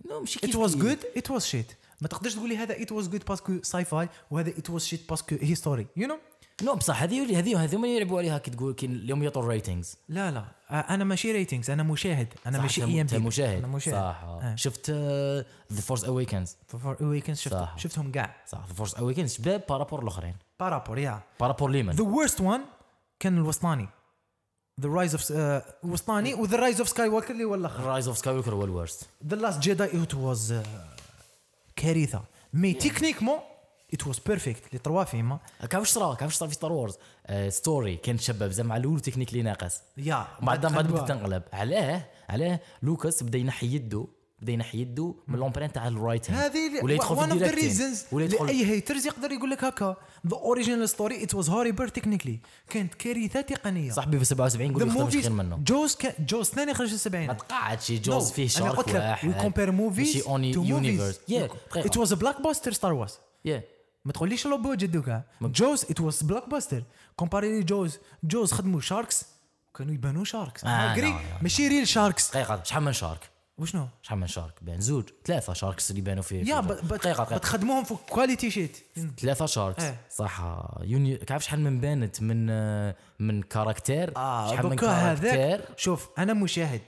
Speaker 2: نو ماشي كيف
Speaker 1: ات واز
Speaker 2: كيف.
Speaker 1: جود ات واز شيت ما تقدرش تقول لي هذا ات واز جود باسكو ساي فاي وهذا ات واز شيت باسكو هيستوري يو نو
Speaker 2: نو بصح هذه هذه هذو ما يلعبوا عليها كي تقول كي اليوم يعطوا الريتينغز
Speaker 1: لا لا آه، انا ماشي ريتينغز انا مشاهد انا
Speaker 2: صح،
Speaker 1: ماشي E
Speaker 2: انت
Speaker 1: اي ام
Speaker 2: انت
Speaker 1: بي
Speaker 2: مشاهد
Speaker 1: انا مشاهد
Speaker 2: صح
Speaker 1: آه.
Speaker 2: شفت ذا فورس اويكنز
Speaker 1: فور ويكند
Speaker 2: صح.
Speaker 1: شفت شفتهم كاع
Speaker 2: صح ذا فورس اويكنز شباب بارابور الاخرين
Speaker 1: بارابور يا
Speaker 2: بارابور ليمن
Speaker 1: ذا worst وان كان الوسطاني ذا رايز اوف الوسطاني وذا رايز اوف سكاي ووكر اللي هو الاخر
Speaker 2: رايز اوف سكاي ووكر هو الورست
Speaker 1: ذا لاست جيداي ات واز كارثه مي تكنيكمون ات واز بيرفكت لي تروا فيما
Speaker 2: كاع واش صرا كاع واش صرا في ستار وورز ستوري كان شباب زعما الاول تكنيك اللي ناقص
Speaker 1: يا
Speaker 2: بعد بعد بدات تنقلب علاه علاه لوكاس بدا ينحي يده بدا ينحي يده من لومبرين تاع الرايت هاند
Speaker 1: هذه
Speaker 2: ولا يدخل في
Speaker 1: وان اوف ذا
Speaker 2: الديريكت هاند.
Speaker 1: ريزنز
Speaker 2: ولا يدخل
Speaker 1: لاي هيترز يقدر يقول لك هكا ذا اوريجينال ستوري ات واز هوريبل تكنيكلي كانت كارثه تقنيه
Speaker 2: صاحبي في 77
Speaker 1: ذا
Speaker 2: يقول لك خدمش
Speaker 1: موفيز
Speaker 2: خير منه
Speaker 1: جوز كا جوز ثاني خرج في
Speaker 2: ما
Speaker 1: السبعينات
Speaker 2: تقعدش جوز
Speaker 1: No.
Speaker 2: فيه
Speaker 1: أنا
Speaker 2: شارك
Speaker 1: قلت لك
Speaker 2: واحد
Speaker 1: وي كومبير موفيز
Speaker 2: ماشي اوني
Speaker 1: تو
Speaker 2: يونيفرس يا
Speaker 1: ات واز بلاك باستر ستار وارز
Speaker 2: يا
Speaker 1: ما تقوليش لو بوجت دوكا جوز ات واز بلاك باستر كومباري لي جوز جوز خدموا شاركس وكانوا يبانوا شاركس
Speaker 2: آه،
Speaker 1: agree.
Speaker 2: no, no, no.
Speaker 1: ماشي ريل شاركس
Speaker 2: دقيقه شحال من شارك
Speaker 1: وشنو
Speaker 2: شحال من شارك بين زوج ثلاثه شاركس اللي بانوا فيه
Speaker 1: يا
Speaker 2: في-
Speaker 1: but- but-
Speaker 2: دقيقه
Speaker 1: but
Speaker 2: دقيقه
Speaker 1: تخدموهم في كواليتي شيت
Speaker 2: ثلاثه شاركس
Speaker 1: إيه.
Speaker 2: صح يوني كيف شحال من بانت من آه، من كاركتير
Speaker 1: اه
Speaker 2: آه، شحال من
Speaker 1: دوكا
Speaker 2: كاركتير
Speaker 1: هذاك شوف انا مشاهد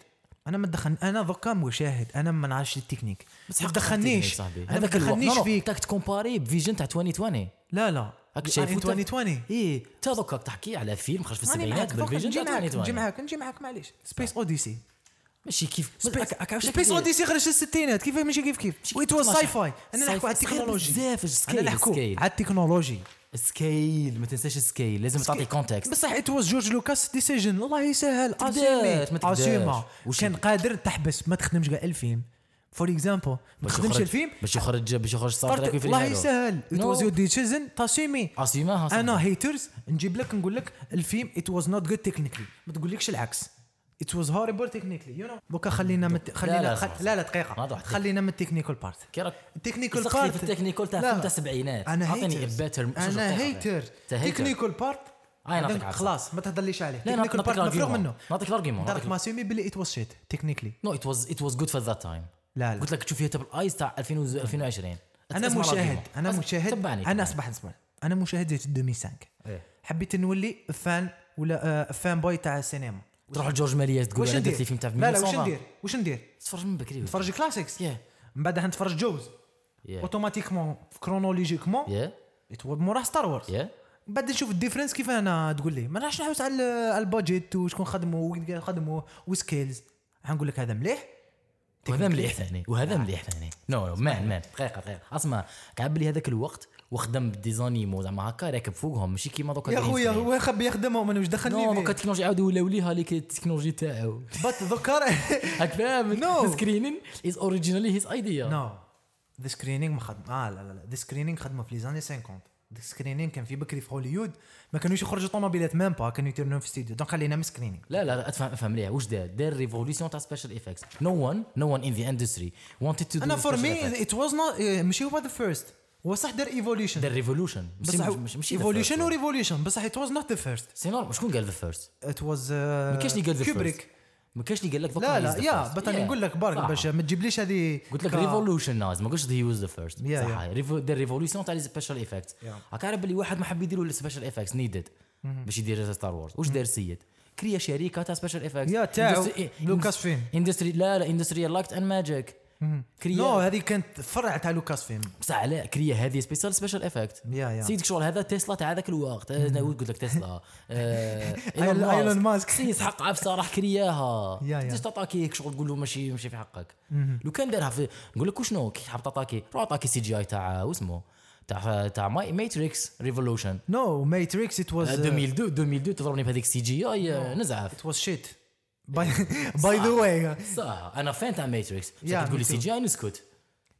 Speaker 1: انا ما دخل انا دوكا مشاهد انا ما نعرفش التكنيك ما تدخلنيش انا ما
Speaker 2: هذاك نعم.
Speaker 1: تدخلنيش فيك
Speaker 2: تاك تكومباري بفيجن تاع 2020
Speaker 1: لا لا يعني
Speaker 2: هاك
Speaker 1: I'm
Speaker 2: شايفو
Speaker 1: 2020
Speaker 2: اي تا دوك هاك تحكي على فيلم خرج في
Speaker 1: ماني
Speaker 2: السبعينات
Speaker 1: معاك دوكا
Speaker 2: بالفيجن
Speaker 1: نجي
Speaker 2: تاع
Speaker 1: معاك نجي
Speaker 2: 2020
Speaker 1: معاك نجي معاك معليش سبيس اوديسي
Speaker 2: ماشي كيف
Speaker 1: سبيس اوديسي خرج في الستينات كيف ماشي كيف كيف ويت واز ساي فاي انا نحكوا على التكنولوجي
Speaker 2: بزاف
Speaker 1: انا
Speaker 2: سكيل
Speaker 1: نحكوا
Speaker 2: سكيل
Speaker 1: على التكنولوجي
Speaker 2: سكيل ما تنساش سكيل لازم تعطي كونتكست
Speaker 1: بصح ات واز جورج لوكاس ديسيجن الله يسهل
Speaker 2: تقدرش، ما
Speaker 1: اسيمي
Speaker 2: تقدرش.
Speaker 1: اسيما
Speaker 2: وش-
Speaker 1: كان قادر تحبس ما تخدمش كاع الفيلم فور اكزامبل ما تخدمش الفيلم
Speaker 2: باش يخرج باش يخرج ستار
Speaker 1: طرت-
Speaker 2: تريك في
Speaker 1: الله يسهل ات واز يور
Speaker 2: يور
Speaker 1: ديسيجن تاسيمي
Speaker 2: Ah, اسيماها
Speaker 1: انا هيترز نجيب لك نقول لك الفيلم ات واز نوت جود تكنيكلي ما تقولكش العكس ات واز هوريبل تكنيكلي يو نو دوكا خلينا مت... خلينا
Speaker 2: لا،
Speaker 1: لا
Speaker 2: لا،
Speaker 1: لا, خل...
Speaker 2: صح.
Speaker 1: لا, لا
Speaker 2: ما راح
Speaker 1: دقيقه
Speaker 2: تك-
Speaker 1: خلينا من التكنيكال بارت
Speaker 2: كي راك
Speaker 1: التكنيكال
Speaker 2: يسخ لي في
Speaker 1: بارت
Speaker 2: التكنيكال تاع
Speaker 1: لا،
Speaker 2: فيلم تاع
Speaker 1: لا.
Speaker 2: السبعينات
Speaker 1: انا
Speaker 2: اعطيني
Speaker 1: هيتر
Speaker 2: باتر
Speaker 1: انا هيتر تكنيكال بارت
Speaker 2: آه، نعطيك عفوا.
Speaker 1: خلاص ما تهضرليش عليه
Speaker 2: لا نعطيك
Speaker 1: تكنيكال بارت مفروغ منه
Speaker 2: نعطيك الارجيومون
Speaker 1: دارك ماسيومي بلي ات واز شيت تكنيكلي
Speaker 2: نو ات واز ات واز جود فور ذات تايم
Speaker 1: لا لا
Speaker 2: قلت لك تشوف هي تبل ايز تاع 2020
Speaker 1: انا
Speaker 2: اسمع
Speaker 1: مشاهد
Speaker 2: الأرجيومون.
Speaker 1: انا
Speaker 2: بس
Speaker 1: مشاهد
Speaker 2: تبعني
Speaker 1: انا اصبح اصبح انا مشاهد جيت 2005
Speaker 2: إيه.
Speaker 1: حبيت نولي فان ولا آه، فان بوي تاع السينما
Speaker 2: تروح لجورج مالياس تقول
Speaker 1: واش
Speaker 2: انا درت لي
Speaker 1: ندير؟
Speaker 2: فيلم تاع
Speaker 1: لا لا
Speaker 2: 1920.
Speaker 1: واش ندير؟ واش ندير؟
Speaker 2: تفرج من بكري
Speaker 1: نتفرج كلاسيكس
Speaker 2: Yeah.
Speaker 1: من بعد نتفرج جوز
Speaker 2: يا
Speaker 1: اوتوماتيكمون كرونولوجيكمون
Speaker 2: يا
Speaker 1: مورا ستار وورز
Speaker 2: يا
Speaker 1: من بعد نشوف الديفرنس كيف انا تقول لي ما راحش نحوس على ال- على البادجيت وشكون خدموا وين قال خدموا وسكيلز غنقول لك هذا مليح
Speaker 2: وهذا مليح ثاني وهذا مليح ثاني نو نو مان مان دقيقه دقيقه اسمع كعب لي هذاك الوقت وخدم بالديزانيمو زعما هكا راكب فوقهم ماشي كيما دوكا
Speaker 1: يا خويا هو يخبي يخدمهم انا واش
Speaker 2: نو
Speaker 1: دخلني
Speaker 2: دوكا التكنولوجيا عاود ولاو ليها ليك التكنولوجي تاعو
Speaker 1: بط [LAUGHS] ذكر
Speaker 2: هاك فاهم
Speaker 1: No.
Speaker 2: سكرينين از اوريجينالي هيز ايديا
Speaker 1: نو ذا سكرينينغ ما خدم اه لا لا لا ذا سكرينينغ خدموا في لي زاني 50 ذا سكرينينغ كان في بكري في هوليوود ما كانوش يخرجوا طوموبيلات مام با كانوا يترنوا في استديو دونك خلينا من سكرينينغ
Speaker 2: لا لا لا افهم افهم ليه واش دار دار ريفولوسيون تاع سبيشال افكتس نو ون نو ون ان ذا اندستري wanted تو
Speaker 1: انا
Speaker 2: دو
Speaker 1: فور مي ات واز نوت ماشي إيه، هو ذا فيرست هو صح دار ايفوليوشن
Speaker 2: دار ريفولوشن
Speaker 1: بصح
Speaker 2: إيه
Speaker 1: ايفوليوشن
Speaker 2: يعني.
Speaker 1: وريفوليوشن بصح ات واز نوت ذا فيرست
Speaker 2: سي نورمال شكون قال ذا فيرست
Speaker 1: ات واز
Speaker 2: ما كاش اللي قال ذا فيرست
Speaker 1: كوبريك
Speaker 2: ما كاش اللي قال لك
Speaker 1: آه، لا لا يا بس انا نقول لك برك باش ما تجيبليش هذه
Speaker 2: قلت لك
Speaker 1: كا-
Speaker 2: ريفولوشن ناز ما قلتش ذا يوز ذا فيرست
Speaker 1: Yeah,
Speaker 2: صح ريفو- دار ريفولوسيون تاع لي سبيشال افكت هاك عارف بلي واحد ما حب يدير لي سبيشال افكتس نيدد باش يدير ستار وورز واش دار سيد كريا شركه تاع سبيشال افكتس
Speaker 1: يا تاعو لوكاس فيلم
Speaker 2: اندستري لا لا اندستري لايت اند ماجيك
Speaker 1: نو
Speaker 2: كريا
Speaker 1: هذه كانت فرع تاع لوكاس فيلم
Speaker 2: بصح على كريا هذه سبيشال سبيشال افكت
Speaker 1: يا يا
Speaker 2: سيدك شغل هذا تسلا تاع هذاك الوقت أنا قلت لك
Speaker 1: [LAUGHS]
Speaker 2: تسلا آه، إيلون ماسك.
Speaker 1: ايلون ماسك
Speaker 2: سيس حق عف صراحه كرياها
Speaker 1: يا- يا.
Speaker 2: تديش تطاكيك شغل تقول له ماشي ماشي في حقك لو كان دارها في نقول لك وشنو كي حاب تطاكي روح طاكي سي جي اي تاع واسمه تاع تاع ماي ماتريكس ريفولوشن
Speaker 1: نو ماتريكس ات واز
Speaker 2: 2002 2002 تضربني بهذيك السي جي اي آه، نزعف
Speaker 1: ات واز شيت [LAUGHS] باي ذا واي
Speaker 2: صح انا فان تاع ماتريكس
Speaker 1: يا،
Speaker 2: تقول لي
Speaker 1: me
Speaker 2: سي
Speaker 1: too.
Speaker 2: جي اي نسكت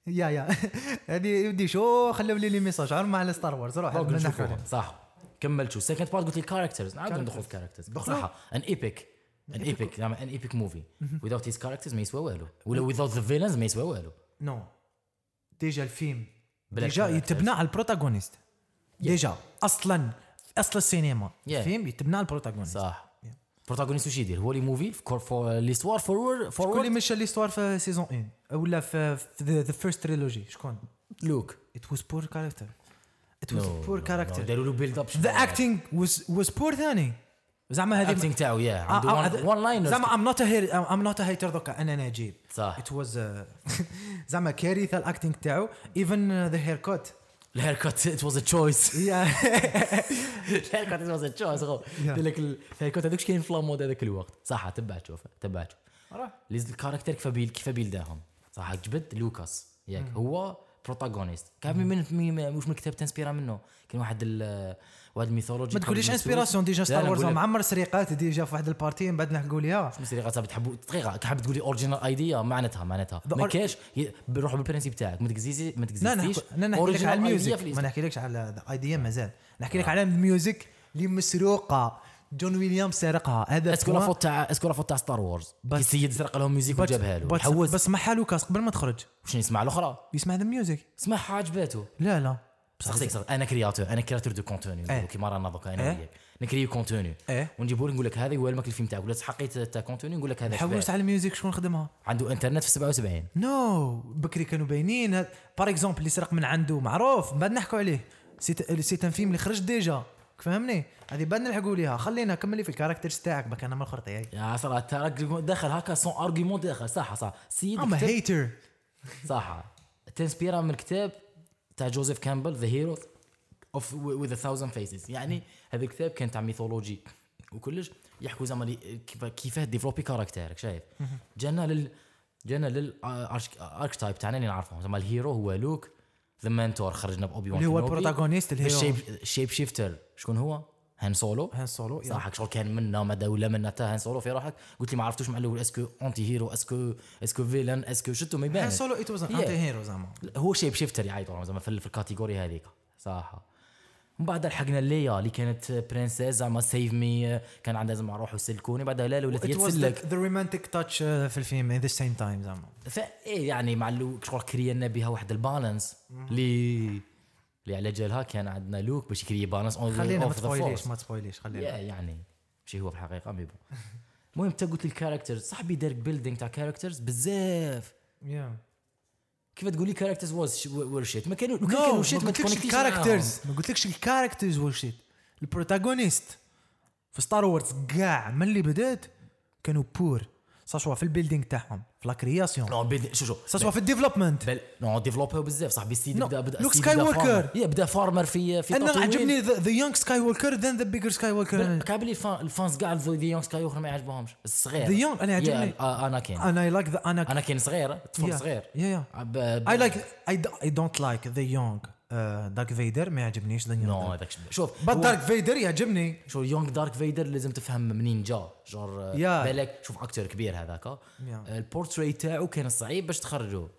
Speaker 1: يا يا [LAUGHS] هذه يدي شو خلوا لي لي ميساج عارف مع ستار وورز روح
Speaker 2: روح
Speaker 1: نحكوا
Speaker 2: نشوفوها.
Speaker 1: عليها.
Speaker 2: صح كملت شو سكند بارت قلت لي كاركترز نعاود ندخل في كاركترز
Speaker 1: دخلوا.
Speaker 2: صح ان ايبك ان ايبك زعما ان ايبك موفي without هيز كاركترز ما يسوى والو ولا without ذا فيلنز ما يسوى والو
Speaker 1: نو ديجا الفيلم
Speaker 2: بلا
Speaker 1: ديجا
Speaker 2: كاركتر.
Speaker 1: يتبنى على البروتاغونيست ديجا اصلا اصل السينما
Speaker 2: Yeah.
Speaker 1: الفيلم يتبنى على البروتاغونيست
Speaker 2: صح
Speaker 1: Yeah.
Speaker 2: بروتاغونيست واش يدير هو اللي موفي فور فور ليستوار فورورد
Speaker 1: شكون اللي
Speaker 2: فورورد
Speaker 1: مشى ليستوار في سيزون 1 ولا في ذا فيرست تريلوجي شكون
Speaker 2: لوك
Speaker 1: ات واز بور كاركتر ات واز بور كاركتر
Speaker 2: داروا له بيلد اب
Speaker 1: ذا اكتينغ واز واز بور ثاني زعما هذه
Speaker 2: اكتينغ تاعو يا
Speaker 1: آه، آه،
Speaker 2: عنده
Speaker 1: هذا-
Speaker 2: وان لاينر
Speaker 1: زعما ام نوت ام نوت هيتر دوكا انا نجيب
Speaker 2: صح.
Speaker 1: ات واز [LAUGHS] زعما كارثه الاكتينغ تاعو ايفن ذا هير كوت
Speaker 2: الهير كات ات واز ا [LAUGHS] تشويس
Speaker 1: يا
Speaker 2: الهير كات ات واز ا تشويس قال لك الهير كات هذاك كاين في لامود هذاك الوقت صح تبع تشوف تبع تشوف لي الكاركتر كيف بيل كيف بيلداهم صح جبت لوكاس ياك هو بروتاغونيست كان من من- من مش من الكتاب تنسبيرا منه كان واحد ال واحد الميثولوجي
Speaker 1: ما تقوليش انسبيراسيون ديجا
Speaker 2: لا،
Speaker 1: ستار
Speaker 2: أنا
Speaker 1: وورز
Speaker 2: نقول لك-
Speaker 1: معمر سرقات ديجا في واحد البارتي من بعد نحكوا ليها
Speaker 2: مصري غصب تحبوا دقيقه حاب تقولي اوريجينال ايديا معناتها معناتها
Speaker 1: The
Speaker 2: ما
Speaker 1: or-
Speaker 2: كاش ي- بروح بالبرنسيب تاعك ما تكزيزي
Speaker 1: لا
Speaker 2: ما تكزيزيش
Speaker 1: نحكي- لا نحكي لك
Speaker 2: original
Speaker 1: على
Speaker 2: idea آه. في
Speaker 1: الميوزك
Speaker 2: الإسلام.
Speaker 1: ما نحكيلكش على الايديا مازال نحكي لك على الميوزك اللي مسروقه جون ويليام سرقها هذا
Speaker 2: اسكو
Speaker 1: point.
Speaker 2: لافوت تاع اسكو لافوت تاع ستار وورز
Speaker 1: بس-
Speaker 2: السيد سرق لهم ميوزيك
Speaker 1: بس-
Speaker 2: وجابها له
Speaker 1: بس,
Speaker 2: حوس
Speaker 1: بس ما حالو كاس قبل ما تخرج
Speaker 2: باش يسمع الاخرى
Speaker 1: يسمع هذا الميوزك
Speaker 2: سمعها عجباته
Speaker 1: لا لا
Speaker 2: صحتك صح انا كرياتور انا كرياتور دو كونتوني
Speaker 1: إيه.
Speaker 2: كيما رانا دوكا انا
Speaker 1: إيه.
Speaker 2: وياك نكري كونتوني
Speaker 1: إيه.
Speaker 2: ونجيبو له نقول لك هذا هو الماكل الفيلم تاعك ولا تحقيت تاع كونتوني نقول لك هذا شباب.
Speaker 1: حولت على الميوزك شكون خدمها
Speaker 2: عنده انترنت في 77
Speaker 1: نو بكري كانوا باينين باغ اكزومبل اللي سرق من عنده معروف بعد نحكوا عليه سيت سيت ان فيلم اللي خرج ديجا فهمني هذه بعد نلحقوا ليها خلينا كملي في الكاركترز تاعك باك انا من الخر تاعي
Speaker 2: يا صراحه تراك دخل هكا سون ارغيومون داخل صح صح سيد
Speaker 1: اما
Speaker 2: كتب-
Speaker 1: هيتر
Speaker 2: صح تنسبيرا من الكتاب تاع جوزيف كامبل ذا هيرو اوف وذ ثاوزند فيسز يعني هذا الكتاب كان تاع ميثولوجي وكلش يحكوا زعما لي- كيف كيفاه ديفلوبي كاركتيرك شايف جانا لل جانا آه، للاركتايب تاعنا اللي نعرفهم زعما الهيرو هو لوك ذا منتور خرجنا باوبي وان
Speaker 1: اللي هو البروتاغونيست الهيرو
Speaker 2: الشيب شيفتر شكون هو؟ هان سولو
Speaker 1: هان سولو يا.
Speaker 2: صح شغل كان منا ما ولا منا تا هان سولو في روحك قلت لي ما عرفتوش مع الاول اسكو انتي هيرو اسكو اسكو فيلن اسكو شتو ما
Speaker 1: هان
Speaker 2: يبانش
Speaker 1: سولو ايت واز
Speaker 2: Yeah.
Speaker 1: انتي هيرو زعما
Speaker 2: هو شيب شيفتر يعيطوا لهم زعما في في الكاتيجوري هذيك صح من بعد لحقنا ليا اللي كانت برنسيس زعما سيف مي كان عندها زعما روح وسلكوني بعدها لا ولات هي
Speaker 1: ات واز
Speaker 2: تسلك
Speaker 1: ذا رومانتيك تاتش uh, في الفيلم ذا سيم تايم زعما
Speaker 2: فايه يعني مع لوك شغل كرينا بها واحد البالانس اللي اللي على جالها كان عندنا لوك باش يكري بالانس اون
Speaker 1: خلينا ما تسبويليش ما تسبويليش خلينا
Speaker 2: يا يعني ماشي هو في الحقيقه مي بون
Speaker 1: [LAUGHS]
Speaker 2: المهم انت قلت لي الكاركترز صاحبي دارك بيلدينغ تاع كاركترز بزاف
Speaker 1: يا
Speaker 2: كيف تقول لي كاركترز واز وير شيت ما كانوا لو
Speaker 1: نو
Speaker 2: كان كانوا
Speaker 1: ما
Speaker 2: شيت ما
Speaker 1: قلتلكش
Speaker 2: تكونكتيش معاهم.
Speaker 1: الكاركترز ما قلتلكش الكاركترز وشيت البروتاغونيست في ستار وورز كاع من اللي بدات كانوا بور سواء في البيلدينغ تاعهم في لا كرياسيون
Speaker 2: نو بيد شو شو
Speaker 1: سواء في الديفلوبمنت
Speaker 2: بل نو ديفلوبر بزاف صاحبي السيد
Speaker 1: نو،
Speaker 2: بدا بدا
Speaker 1: لوك
Speaker 2: السيد بدا
Speaker 1: سكاي
Speaker 2: فارمر.
Speaker 1: ووكر.
Speaker 2: يا بدا فارمر في في
Speaker 1: انا
Speaker 2: تطوين.
Speaker 1: عجبني ذا يونغ سكاي ووكر ذن ذا بيجر سكاي ووكر
Speaker 2: بل- كابلي الفان- الفانز كاع ذا يونغ سكاي ووكر ما يعجبهمش الصغير
Speaker 1: The young- أنا
Speaker 2: يا،
Speaker 1: عجبني.
Speaker 2: آه، انا كاين
Speaker 1: انا اي لايك ذا انا
Speaker 2: انا كاين صغير طفل صغير
Speaker 1: يا يا اي لايك اي دونت لايك ذا يونغ دارك فيدر uh, ما يعجبنيش ذا
Speaker 2: نو
Speaker 1: يونغ
Speaker 2: هذاك شب- شوف
Speaker 1: بس
Speaker 2: هو-
Speaker 1: دارك فيدر يعجبني
Speaker 2: شو يونغ دارك فيدر لازم تفهم منين جا جور آه،
Speaker 1: يا.
Speaker 2: بالك شوف اكتر كبير هذاك آه، البورتري تاعو كان صعيب باش تخرجوه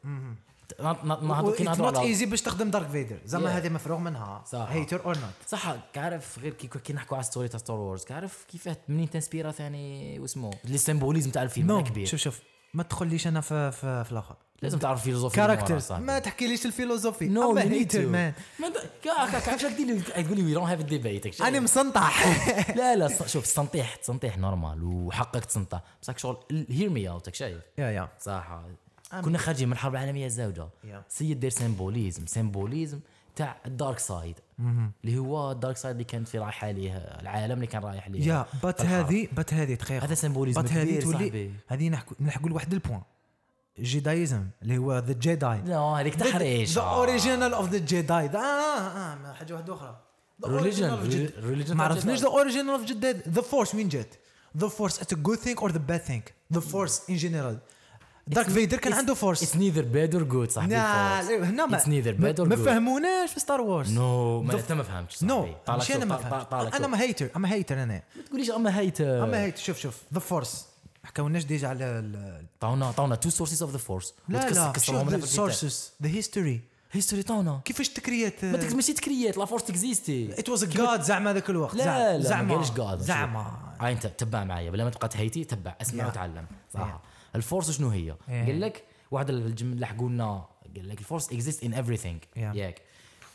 Speaker 2: نا- نا- نهضروا كي
Speaker 1: اتس
Speaker 2: نهضروا
Speaker 1: نوت
Speaker 2: على
Speaker 1: ايزي باش تخدم دارك فيدر زعما
Speaker 2: Yeah.
Speaker 1: هذه مفروغ منها
Speaker 2: صح.
Speaker 1: هيتر اور نوت
Speaker 2: صح كعرف غير كي كي نحكوا على ستوري تاع ستار وورز كعرف كيفاه منين تنسبيرا ثاني واسمو السيمبوليزم تاع الفيلم هذا
Speaker 1: نو
Speaker 2: كبير
Speaker 1: شوف شوف ما تدخليش انا في في, في الاخر
Speaker 2: لازم تعرف فيلوزوفيا
Speaker 1: كاركترز ما تحكيليش الفيلوزوفي
Speaker 2: نو
Speaker 1: أما hater man.
Speaker 2: كاك عرفت شكون اللي تقول لي وي دونت هاف ديبيت
Speaker 1: انا
Speaker 2: [LAUGHS]
Speaker 1: مسنطح
Speaker 2: لا لا ص- شوف تنطيح تنطيح نورمال وحقك تنطيح بصح شغل هير مي اوت شايف
Speaker 1: يا يا
Speaker 2: صح كنا خارجين من الحرب العالميه الزوجه
Speaker 1: Yeah.
Speaker 2: سيد دير سيمبوليزم سيمبوليزم تاع الدارك سايد اللي هو الدارك سايد اللي كان في رايح عليه العالم اللي كان رايح ليه
Speaker 1: يا بات
Speaker 2: الحرب.
Speaker 1: هذه بات هذه دقيقه
Speaker 2: هذا سيمبوليزم
Speaker 1: بات هذه
Speaker 2: كبير
Speaker 1: تولي
Speaker 2: صاحبي
Speaker 1: هذه نحكوا نحكوا لواحد البوان جيدايزم اللي هو ذا جيداي
Speaker 2: لا هذيك تحريش
Speaker 1: ذا اوريجينال اوف ذا جيداي اه اه حاجه واحده اخرى The original of
Speaker 2: ريليجن
Speaker 1: Jedi.
Speaker 2: ريليجن
Speaker 1: ما عرفتنيش ذا اوريجين اوف جداد ذا فورس وين جات ذا فورس اتس جود ثينك اور ذا باد ثينك ذا فورس ان جينيرال دارك فيدر كان عنده فورس
Speaker 2: اتس نيذر باد اور جود صاحبي
Speaker 1: لا
Speaker 2: الفورس.
Speaker 1: لا، هنا ما
Speaker 2: It's neither
Speaker 1: ما-
Speaker 2: bad or
Speaker 1: ما
Speaker 2: good.
Speaker 1: فهموناش في ستار وورز
Speaker 2: نو ما انت ما فهمتش
Speaker 1: نو ماشي انا ما فهمت
Speaker 2: فهمتش
Speaker 1: انا ما هيتر اما هيتر انا
Speaker 2: ما تقوليش آه، اما هيتر
Speaker 1: اما هيتر شوف شوف ذا فورس حكاولناش ديجا على ال-
Speaker 2: طاونا طاونا تو سورسز اوف ذا فورس
Speaker 1: لا لا شوف ذا سورسز ذا هيستوري
Speaker 2: هيستوري طاونا
Speaker 1: كيفاش تكريات
Speaker 2: ما تك- ماشي تكريات لا فورس تكزيستي
Speaker 1: ات واز جاد زعما ذاك الوقت
Speaker 2: لا
Speaker 1: زعما-
Speaker 2: لا ما
Speaker 1: زعما
Speaker 2: قالش قاعد
Speaker 1: زعما
Speaker 2: هاي انت تبع معايا بلا ما تبقى تهيتي تبع اسمع
Speaker 1: Yeah.
Speaker 2: وتعلم صح الفورس شنو هي؟
Speaker 1: Yeah.
Speaker 2: قال لك واحد الجمل اللي حكوا لنا قال لك الفورس اكزيست ان everything ياك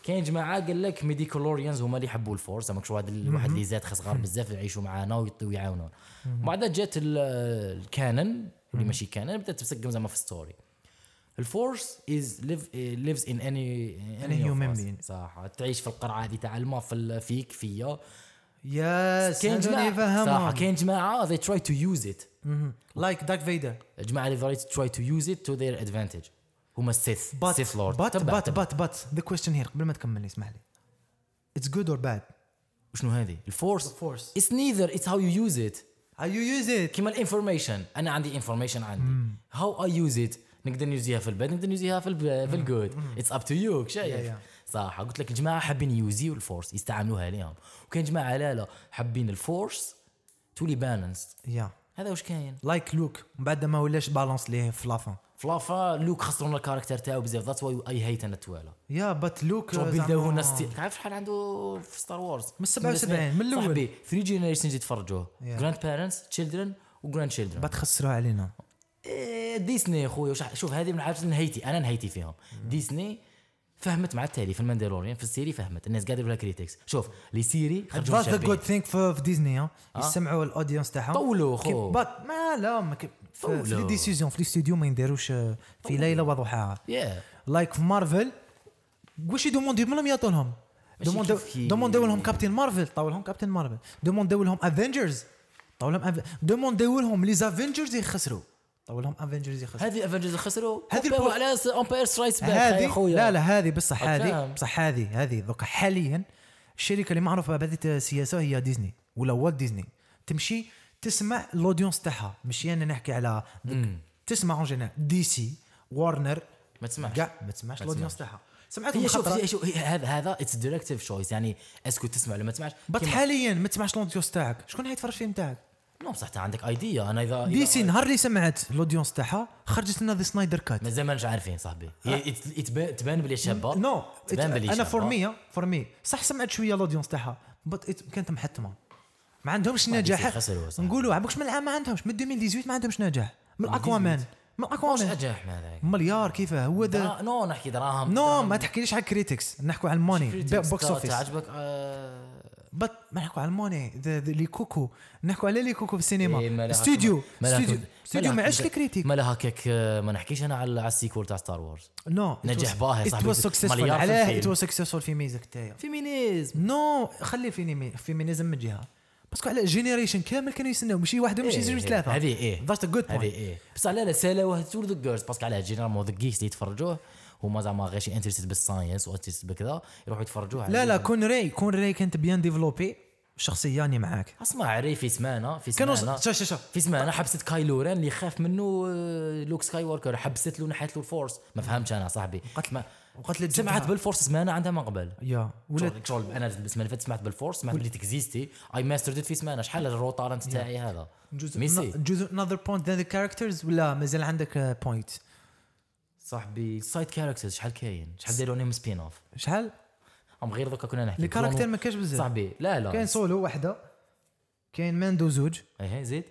Speaker 2: كاين جماعه قال لك ميديكولوريانز هما اللي يحبوا الفورس زعما شو واحد ال- واحد اللي زاد صغار بزاف يعيشوا معانا ويط- ويعاونون بعدها جات ال- الكانن اللي ماشي كانن بدات تسقم زعما في ستوري الفورس از ليفز ان اني
Speaker 1: Any human being.
Speaker 2: صح تعيش في القرعه هذه تاع الماء في ال- فيك فيا
Speaker 1: يس
Speaker 2: كاين جماعه صح
Speaker 1: يفهمهم
Speaker 2: كاين جماعه they try to use it
Speaker 1: لايك دارك فيدر
Speaker 2: الجماعه اللي they try to use it to their advantage هما السيث
Speaker 1: But
Speaker 2: سيث لورد
Speaker 1: but but but but the question here قبل ما تكمل اسمح لي. It's good or bad?
Speaker 2: شنو هذه الفورس
Speaker 1: force.
Speaker 2: it's neither it's how you use it
Speaker 1: How you use it?
Speaker 2: كيما الانفورميشن انا عندي انفورميشن عندي how I use it نقدر نيوزيها في الباد نقدر نيوزيها في الب- في الجود اتس اب تو يو
Speaker 1: Yeah,
Speaker 2: شايف
Speaker 1: yeah.
Speaker 2: صح قلت لك الجماعه حابين يوزيو الفورس يستعملوها عليهم وكاين جماعه لا لا حابين الفورس تولي بالانس
Speaker 1: يا
Speaker 2: هذا واش كاين
Speaker 1: لايك لوك من بعد ما ولاش بالونس ليه في لافان
Speaker 2: فلافا لوك خسرونا الكاركتر تاعو بزاف ذاتس واي اي هيت انا توالا
Speaker 1: يا بات لوك
Speaker 2: تروح
Speaker 1: زعما-
Speaker 2: بيلداو ستيل تعرف شحال عنده في ستار وورز
Speaker 1: من 77 من الأول.
Speaker 2: صاحبي ثري جينيريشنز يتفرجوه
Speaker 1: Yeah.
Speaker 2: جراند بارنتس تشيلدرن وجراند تشيلدرن
Speaker 1: بات خسروها علينا
Speaker 2: إيه، ديزني خويا وش- شوف هذه من الحاجات اللي نهيتي انا نهيتي فيهم ديزني فهمت مع التالي في الماندالوريان في السيري فهمت الناس قاعده لها كريتكس شوف لي سيري خرجوا
Speaker 1: ذات ذا جود
Speaker 2: شابين
Speaker 1: ثينك في في ديزني ها يسمعوا الاودينس تاعهم
Speaker 2: طولوا خو.
Speaker 1: كيف بات ما لا ما كيف في
Speaker 2: طولوا.
Speaker 1: لي ديسيزيون في لي ستوديو ما ينديروش آه، في ليله وضحاها
Speaker 2: يا
Speaker 1: لايك في مارفل واش يدوموندي منهم يعطوا لهم
Speaker 2: ماشي
Speaker 1: دوموندو
Speaker 2: كيف كي-
Speaker 1: دوموندو لهم كابتن مارفل طاو لهم كابتن مارفل دوموندو لهم افنجرز طاو لهم أف- دوموندو لهم لي افنجرز يخسروا طاو لهم افنجرز يخسروا
Speaker 2: هذه افنجرز خسروا
Speaker 1: هذه
Speaker 2: هذه
Speaker 1: البو-
Speaker 2: على امباير سترايكس باك يا
Speaker 1: هذه
Speaker 2: خويا
Speaker 1: لا لا هذه بصح هذه
Speaker 2: أتفهم.
Speaker 1: بصح هذه هذه دوكا حاليا الشركه اللي معروفه بهذه السياسه هي ديزني ولا والت ديزني تمشي تسمع الاودينس تاعها ماشي انا نحكي على تسمع اون جينيرال دي سي وارنر
Speaker 2: ما تسمعش
Speaker 1: كاع ما تسمعش
Speaker 2: ما
Speaker 1: الاودينس تاعها سمعتهم
Speaker 2: هي شوف
Speaker 1: خطرة.
Speaker 2: هي شوف هي- هذا هذا اتس دايركتيف تشويس يعني اسكو تسمع ولا ما تسمعش
Speaker 1: بس
Speaker 2: كيما-
Speaker 1: حاليا ما تسمعش لودينس تاعك شكون حيتفرج فيلم تاعك
Speaker 2: نو بصح انت نعم، عندك ايديا انا اذا
Speaker 1: دي
Speaker 2: إذا-
Speaker 1: سي نهار اللي سمعت لودينس تاعها خرجت لنا ذا سنايدر كات
Speaker 2: مازال ما نش عارفين صاحبي هي إت- إت- تبان بلي شابه
Speaker 1: أه. نو
Speaker 2: تبان بلي
Speaker 1: انا
Speaker 2: شابة.
Speaker 1: فور مي فور مي آه، صح سمعت شويه لودينس تاعها بس كانت محتمه ما عندهمش نجاح
Speaker 2: خسروا صح.
Speaker 1: نقولوا عبوكش من العام ما عندهمش من 2018 ما عندهمش نجاح من اكوامان من
Speaker 2: واش
Speaker 1: اكوامان
Speaker 2: نجاح من هذاك
Speaker 1: مليار كيفاه هو ده
Speaker 2: درا- نو نحكي دراهم
Speaker 1: نو
Speaker 2: دراهم.
Speaker 1: ما تحكيليش على الكريتكس نحكوا على الموني
Speaker 2: Critics
Speaker 1: بوكس
Speaker 2: تا-
Speaker 1: اوفيس
Speaker 2: تعجبك آه،
Speaker 1: بس ما نحكوا على الموني ذا- ذا- لي كوكو نحكوا على لي كوكو في
Speaker 2: إيه، ما
Speaker 1: السينما
Speaker 2: لها-
Speaker 1: استوديو
Speaker 2: ما لها-
Speaker 1: استوديو
Speaker 2: ما لها-
Speaker 1: استوديو ما عادش الكريتيك
Speaker 2: ما لها هكاك آه، ما نحكيش انا على على السيكول تاع ستار وورز
Speaker 1: نو
Speaker 2: نجاح باهظ
Speaker 1: ات
Speaker 2: صاحبي.
Speaker 1: واز سكسيسفول
Speaker 2: مليار في
Speaker 1: علاه
Speaker 2: الفيلم.
Speaker 1: ات واز سكسيسفول في ميزك تاعي
Speaker 2: فيمينيزم
Speaker 1: نو خلي الفيمينيزم من جهه باسكو على جينيريشن كامل كانوا يستناو ماشي واحد ماشي زوج ثلاثه
Speaker 2: إيه، هذه ايه
Speaker 1: ذاتس جود
Speaker 2: هذه
Speaker 1: بوينت
Speaker 2: ايه بصح لا لا سالاوه تو ذا جيرلز باسكو على جينيرالمون ذا جيكس اللي يتفرجوه هما زعما غير شي انترستد بالساينس وانترستد بكذا يروحوا يتفرجوه على-
Speaker 1: لا لا كون ري كون ري كانت بيان ديفلوبي شخصيه راني معاك
Speaker 2: اسمع عري في سمانه في
Speaker 1: كانوا
Speaker 2: سمانه
Speaker 1: شا شا شا
Speaker 2: في سمانه حبست كايلو ران اللي خاف منه آه، لوك سكاي ووركر حبست له نحت له الفورس ما فهمتش انا صاحبي
Speaker 1: وقت-
Speaker 2: ما
Speaker 1: وقت اللي
Speaker 2: سمعت بالفورس سمانه عندها من قبل
Speaker 1: يا ولا
Speaker 2: ولا شغل انا السمانه اللي فاتت سمعت بالفورس سمعت بلي تكزيستي اي ماسترد في سمانه شحال الرو تالنت تاعي هذا ميسي
Speaker 1: نعم. جزء جزء another point than the characters ولا مازال عندك آه، بوينت
Speaker 2: صاحبي سايد كاركترز شحال كاين شحال داروا عليهم سبين اوف
Speaker 1: شحال
Speaker 2: هم غير دوكا كنا نحكي
Speaker 1: لي كاركتير
Speaker 2: كلونو-
Speaker 1: ما كاش بزاف
Speaker 2: صاحبي لا لا
Speaker 1: كاين سولو وحده كاين ماندو زوج
Speaker 2: ايه زيد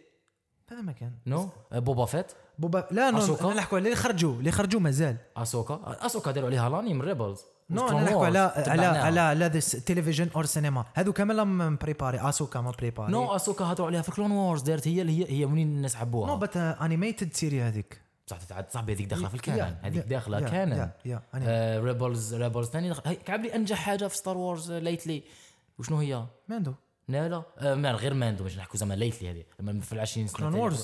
Speaker 1: هذا ما كان
Speaker 2: نو أه، بوبا فيت
Speaker 1: بوبا لا نو
Speaker 2: أسوكا؟
Speaker 1: انا نحكوا على اللي خرجوا اللي خرجوا مازال
Speaker 2: اسوكا اسوكا داروا عليها لاني من ريبلز
Speaker 1: نو انا نحكوا على على على على التلفزيون اور سينما هادو كامل راهم مبريباري اسوكا ما بريباري
Speaker 2: نو اسوكا هضروا عليها في كلون وورز دارت هي اللي هي هي منين الناس
Speaker 1: نو
Speaker 2: حبوها
Speaker 1: بات انيميتد سيري هذيك
Speaker 2: بصح تتعد صاحبي هذيك داخله في
Speaker 1: Yeah,
Speaker 2: الكانون
Speaker 1: yeah,
Speaker 2: هذيك داخله
Speaker 1: yeah,
Speaker 2: كانون آه،
Speaker 1: yeah, yeah, anime.
Speaker 2: ريبلز ريبلز ثاني كعبلي انجح حاجه في ستار وورز ليتلي وشنو هي؟
Speaker 1: ماندو
Speaker 2: لا لا آه، ما غير ماندو باش نحكوا زعما ليتلي هذه لما في العشرين سنه
Speaker 1: Clone
Speaker 2: تاعي.
Speaker 1: Wars.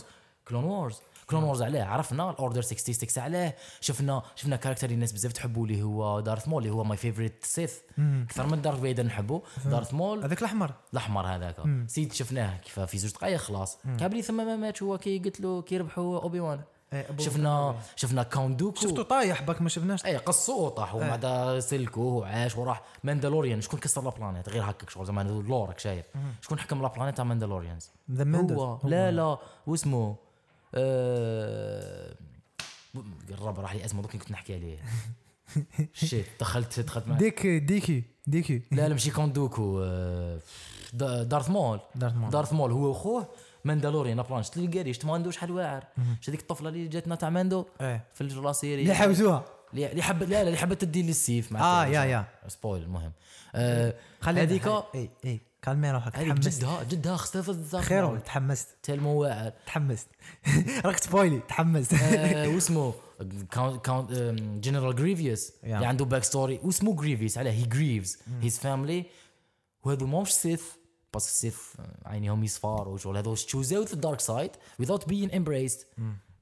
Speaker 2: كلون وورز كلون وورز عليه عرفنا الاوردر 66 عليه شفنا شفنا كاركتر اللي الناس بزاف تحبوا اللي هو دارث مول اللي هو ماي فيفوريت سيث اكثر من دارث فيدر نحبه دارث مول
Speaker 1: هذاك الاحمر
Speaker 2: الاحمر هذاك سيد شفناه كيف في زوج دقائق خلاص كابلي ثم ما مات هو كي قلت له كي ربحوا اوبي وان
Speaker 1: إيه، أبو-
Speaker 2: شفنا شفنا كاون دوكو
Speaker 1: شفتو إيه. طايح باك ما شفناش
Speaker 2: اي قصوه طاح ومع دا سلكوه وعاش وراح ماندالوريان شكون كسر لابلانيت غير هكاك شغل زعما لورك شايف شكون حكم لابلانيت تاع ماندالوريانز
Speaker 1: ذا ماندو
Speaker 2: هو لا لا واسمه آه، الرب راح لي اسمه دوك كنت نحكي عليه
Speaker 1: [LAUGHS]
Speaker 2: شيت دخلت دخلت مع
Speaker 1: ديك ديكي
Speaker 2: [LAUGHS]
Speaker 1: ديكي
Speaker 2: لا لا ماشي كوندوكو آه، دا- دارث مول
Speaker 1: دارت مول
Speaker 2: دارث مول هو وخوه ماندالوريان لابلانيت شفت القاري شفت ماندو شحال واعر شفت هذيك الطفله اللي جاتنا تاع ماندو
Speaker 1: إيه.
Speaker 2: في لا سيري
Speaker 1: اللي حوزوها
Speaker 2: اللي اللي حبت لا لا اللي حبت تدي لي السيف مع
Speaker 1: آه،
Speaker 2: التلفزيون.
Speaker 1: يا- يا.
Speaker 2: سبويل المهم آه،
Speaker 1: خلينا-
Speaker 2: هذيك
Speaker 1: اي اي كالمي روحك
Speaker 2: هذيك
Speaker 1: تحمست
Speaker 2: جدها جدها اختفت ذاك
Speaker 1: خيرو تحمست
Speaker 2: تلمو واعر
Speaker 1: تحمست [LAUGHS] راك سبويلي تحمست
Speaker 2: آه، واسمه كاونت كاونت آم، جنرال جريفيوس اللي عنده باك ستوري واسمه جريفيوس علاه هي جريفز هيز فاملي وهذو ماهمش سيث باسكو سيث آه، عينيهم يصفار وشغل هذو تشوزاو في الدارك سايد without being embraced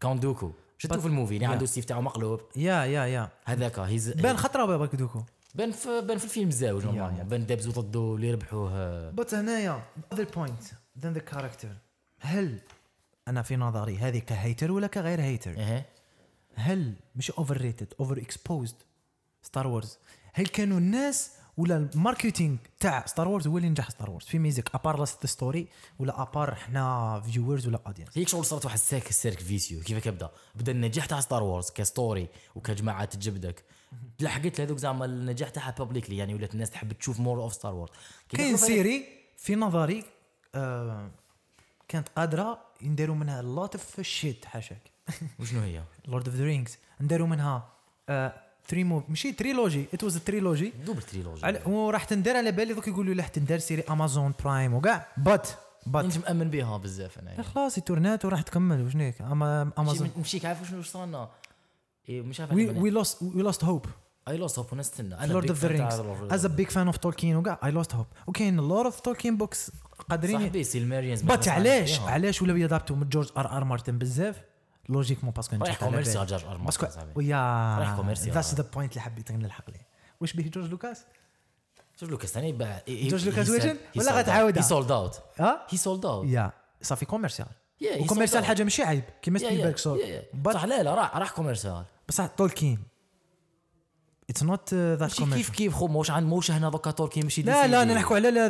Speaker 2: كاونت دوكو شفتو في الموفي اللي عنده السيف تاعو مقلوب
Speaker 1: [LAUGHS] يا يا يا
Speaker 2: هذاك هيز
Speaker 1: بان خطره برك دوكو
Speaker 2: بان في بان في الفيلم زاوج normalement. بان دابزو ضده اللي ربحوه آه،
Speaker 1: بس هنايا ذا بوينت ذن ذا كاركتر هل انا في نظري هذه كهيتر ولا كغير هيتر
Speaker 2: ايه
Speaker 1: هل مش اوفر ريتد اوفر اكسبوزد ستار وورز هل كانوا الناس ولا الماركتينغ تاع ستار وورز هو اللي نجح ستار وورز في ميزك ابار لاست ستوري ولا ابار حنا فيورز ولا اودينس
Speaker 2: هيك شغل صارت واحد السيرك سيرك فيسيو كيفك يبدا بدا النجاح تاع ستار وورز كستوري وكجماعه تجبدك لحقت لهذوك زعما النجاح تاعها بابليكلي يعني ولات الناس تحب تشوف مور اوف ستار وورز
Speaker 1: كاين سيري في نظري آه كانت قادره ينديروا منها لوت اوف شيت حاشاك
Speaker 2: وشنو هي؟
Speaker 1: لورد اوف ذا رينجز نديروا منها تري موف ماشي تريلوجي ات واز تريلوجي
Speaker 2: دوبل تريلوجي
Speaker 1: وراح تندار على بالي دوك يقولوا لا تندار سيري امازون برايم وكاع بات بات
Speaker 2: انت مامن بها بزاف انا
Speaker 1: خلاص تورنات وراح تكمل وشنو هيك أما- امازون
Speaker 2: مشيك عارف شنو واش صرنا إيه، مش عارف
Speaker 1: وي وي لوست وي لوست هوب
Speaker 2: اي لوست هوب ونستنى انا
Speaker 1: لورد اوف ذا رينجز از ا بيج فان اوف تولكين وكاع اي لوست هوب وكاين لورد اوف تولكين بوكس قادرين
Speaker 2: صاحبي سيلمارينز
Speaker 1: بات علاش علاش ولاو يدابتو من جورج ار ار مارتن بزاف لوجيكمون باسكو
Speaker 2: رايح
Speaker 1: نجحت على
Speaker 2: كوميرسي
Speaker 1: بالي.
Speaker 2: جورج ار
Speaker 1: باسكو
Speaker 2: مارتن صاحبي رايح
Speaker 1: ويا
Speaker 2: كوميرسي
Speaker 1: ذاتس ذا بوينت اللي حبيت نلحق ليه واش به جورج لوكاس
Speaker 2: جورج لوكاس إيه، ثاني باع
Speaker 1: جورج لوكاس وجن؟ ولا غتعاودها؟
Speaker 2: هي سولد اوت
Speaker 1: ها
Speaker 2: هي سولد اوت
Speaker 1: يا صافي كوميرسيال
Speaker 2: Yeah, he sold
Speaker 1: وكوميرسيال
Speaker 2: out.
Speaker 1: حاجه ماشي عيب كيما سبيلبرغ سول
Speaker 2: بصح لا لا راح راح كوميرسيال
Speaker 1: بصح تولكين اتس نوت ذات
Speaker 2: ماشي كيف
Speaker 1: كوميرسيال
Speaker 2: كيف خو موش عن موش هنا دوكا توركي ماشي
Speaker 1: uh, لا لا انا نحكوا على ذا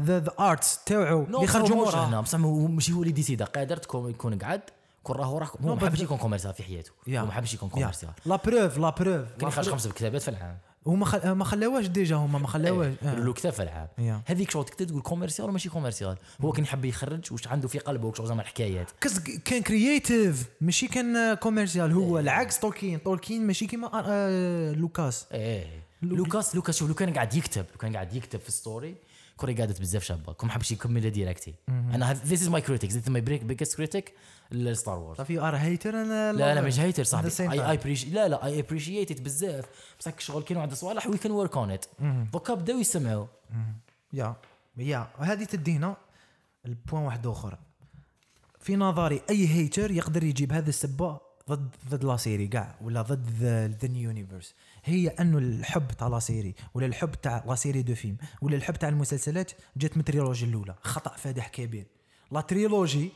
Speaker 1: ذا ذا ارتس تاعو اللي خرجوا
Speaker 2: موش
Speaker 1: مورا
Speaker 2: هنا بصح ما هو- ماشي هو اللي ديسيدا قادر تكون يكون قعد كون راهو راح هو
Speaker 1: No,
Speaker 2: ما
Speaker 1: but-
Speaker 2: حبش يكون كوميرسيال في حياته
Speaker 1: Yeah.
Speaker 2: هو ما حبش يكون كوميرسيال
Speaker 1: لا بروف لا بروف
Speaker 2: كان يخرج خمسه كتابات في العام
Speaker 1: هما خل- ما خلاوهش ديجا هما ما خلاوهش آه.
Speaker 2: لو كتاب في العام
Speaker 1: Yeah.
Speaker 2: هذيك شغل تقدر تقول كوميرسيال وماشي كوميرسيال هو كان يحب يخرج واش عنده في قلبه وش زعما الحكايات
Speaker 1: كز كان كرييتيف ماشي كان كوميرسيال
Speaker 2: إيه.
Speaker 1: هو العكس تولكين تولكين ماشي كيما آه، لوكاس
Speaker 2: ايه لوكاس لوكاس شوف لو كان قاعد يكتب لو كان قاعد يكتب في ستوري كوري قعدت بزاف شابه كون ما حبش يكمل ديريكتي انا ذيس از ماي كريتيك ذيس ماي بيجست كريتيك لستار وورز
Speaker 1: صافي ار هيتر انا
Speaker 2: لا لا مش هيتر
Speaker 1: At the same
Speaker 2: صاحبي
Speaker 1: time.
Speaker 2: اي اي لا لا اي ابريشيتد بزاف بصح كي شغل كاين واحد الصوالح وي كان ورك اون ات دوكا بداو يسمعوا
Speaker 1: يا يا هذه تدينا البوان واحد اخر في نظري اي هيتر يقدر يجيب هذا السبه ضد ضد لا سيري كاع ولا ضد ذا نيو يونيفرس هي انه الحب تاع لا سيري ولا الحب تاع لا سيري دو فيلم ولا الحب تاع المسلسلات جات من التريلوجي الاولى خطا فادح كبير لا تريلوجي